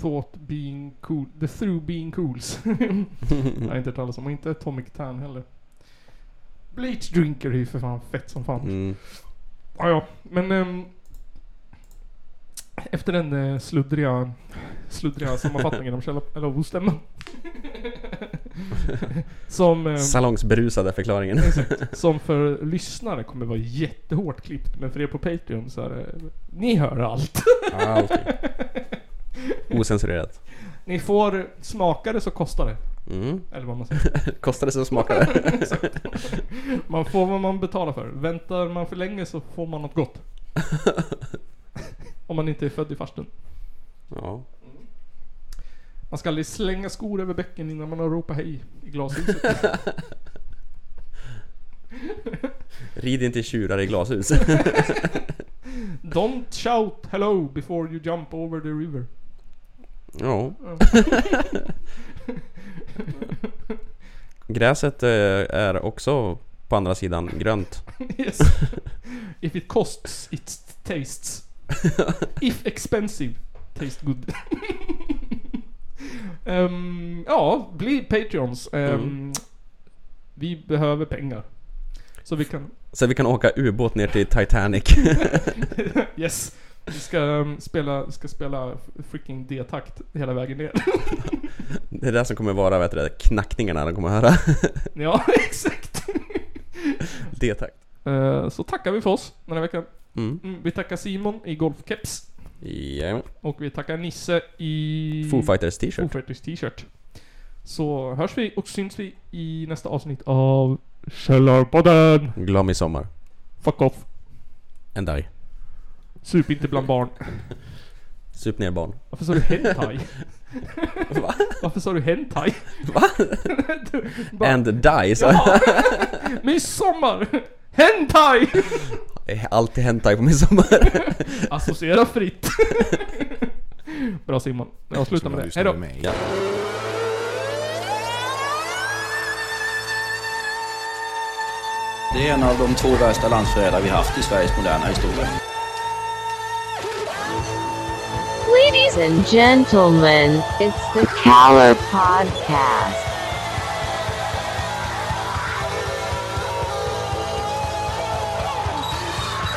[SPEAKER 1] Thought Being Cool... The Through Being Cools. jag har inte hört talas om. Och inte Atomic Tan heller. Bleach Drinker är ju för fan fett som fan.
[SPEAKER 2] Mm.
[SPEAKER 1] Ja, ja. Men... ehm, efter den eh, sluddriga, sluddriga sammanfattningen om källa... Eller ostämman. som... ehm,
[SPEAKER 2] Salongsberusade förklaringen.
[SPEAKER 1] Exakt. Som för lyssnare kommer vara jättehårt klippt, men för er på Patreon så är det... Ni hör allt.
[SPEAKER 2] Allt. Ocensurerat.
[SPEAKER 1] Ni får smaka det så kostar det.
[SPEAKER 2] Mm.
[SPEAKER 1] Eller vad man säger.
[SPEAKER 2] Kostar det så smakar det.
[SPEAKER 1] Exakt. man får vad man betalar för. Väntar man för länge så får man något gott. Om man inte är född i farstun.
[SPEAKER 2] Ja.
[SPEAKER 1] Man ska aldrig slänga skor över bäcken innan man har ropat hej i glashuset.
[SPEAKER 2] Rid inte i tjurar i glashus.
[SPEAKER 1] Don't shout hello before you jump over the river.
[SPEAKER 2] ja.
[SPEAKER 1] Ja.
[SPEAKER 2] Gräset eh, är också på andra sidan grönt.
[SPEAKER 1] yes. If it costs, it tastes. If expensive, taste good. Ehm, ja, bli Patreons. Ehm,
[SPEAKER 2] Mm.
[SPEAKER 1] Vi behöver pengar. Så vi kan...
[SPEAKER 2] Så vi kan åka ubåt ner till Titanic.
[SPEAKER 1] yes. Vi ska ehm, spela, ska spela freaking D-takt hela vägen ner.
[SPEAKER 2] det är det som kommer vara vet du, det, knackningarna de kommer höra.
[SPEAKER 1] ja, exakt.
[SPEAKER 2] det tack.
[SPEAKER 1] Eh, så tackar vi för oss den här veckan.
[SPEAKER 2] Mm.
[SPEAKER 1] Mm, vi tackar Simon i golfkeps.
[SPEAKER 2] Jajamän.
[SPEAKER 1] Och vi tackar Nisse i...
[SPEAKER 2] Foo Fighters t-shirt.
[SPEAKER 1] Foo Fighters t-shirt. Så hörs vi och syns vi i nästa avsnitt av Källarpodden.
[SPEAKER 2] Glad midsommar.
[SPEAKER 1] Fuck off.
[SPEAKER 2] En dag.
[SPEAKER 1] Sup inte bland barn.
[SPEAKER 2] Sup ner barn.
[SPEAKER 1] Varför sa du hentai? Va? Varför sa du hentai?
[SPEAKER 2] Va?
[SPEAKER 1] Du, bara-
[SPEAKER 2] And die. Så.
[SPEAKER 1] Ja. Midsommar! Hentai!
[SPEAKER 2] Det är Alltid hentai på midsommar.
[SPEAKER 1] Associera fritt. Bra Simon. Jag slutar med det. Hejdå.
[SPEAKER 2] Ja.
[SPEAKER 16] Det är en av de två värsta landsförrädare vi haft i Sveriges moderna historia.
[SPEAKER 17] Ladies and gentlemen, it's the Caller Podcast.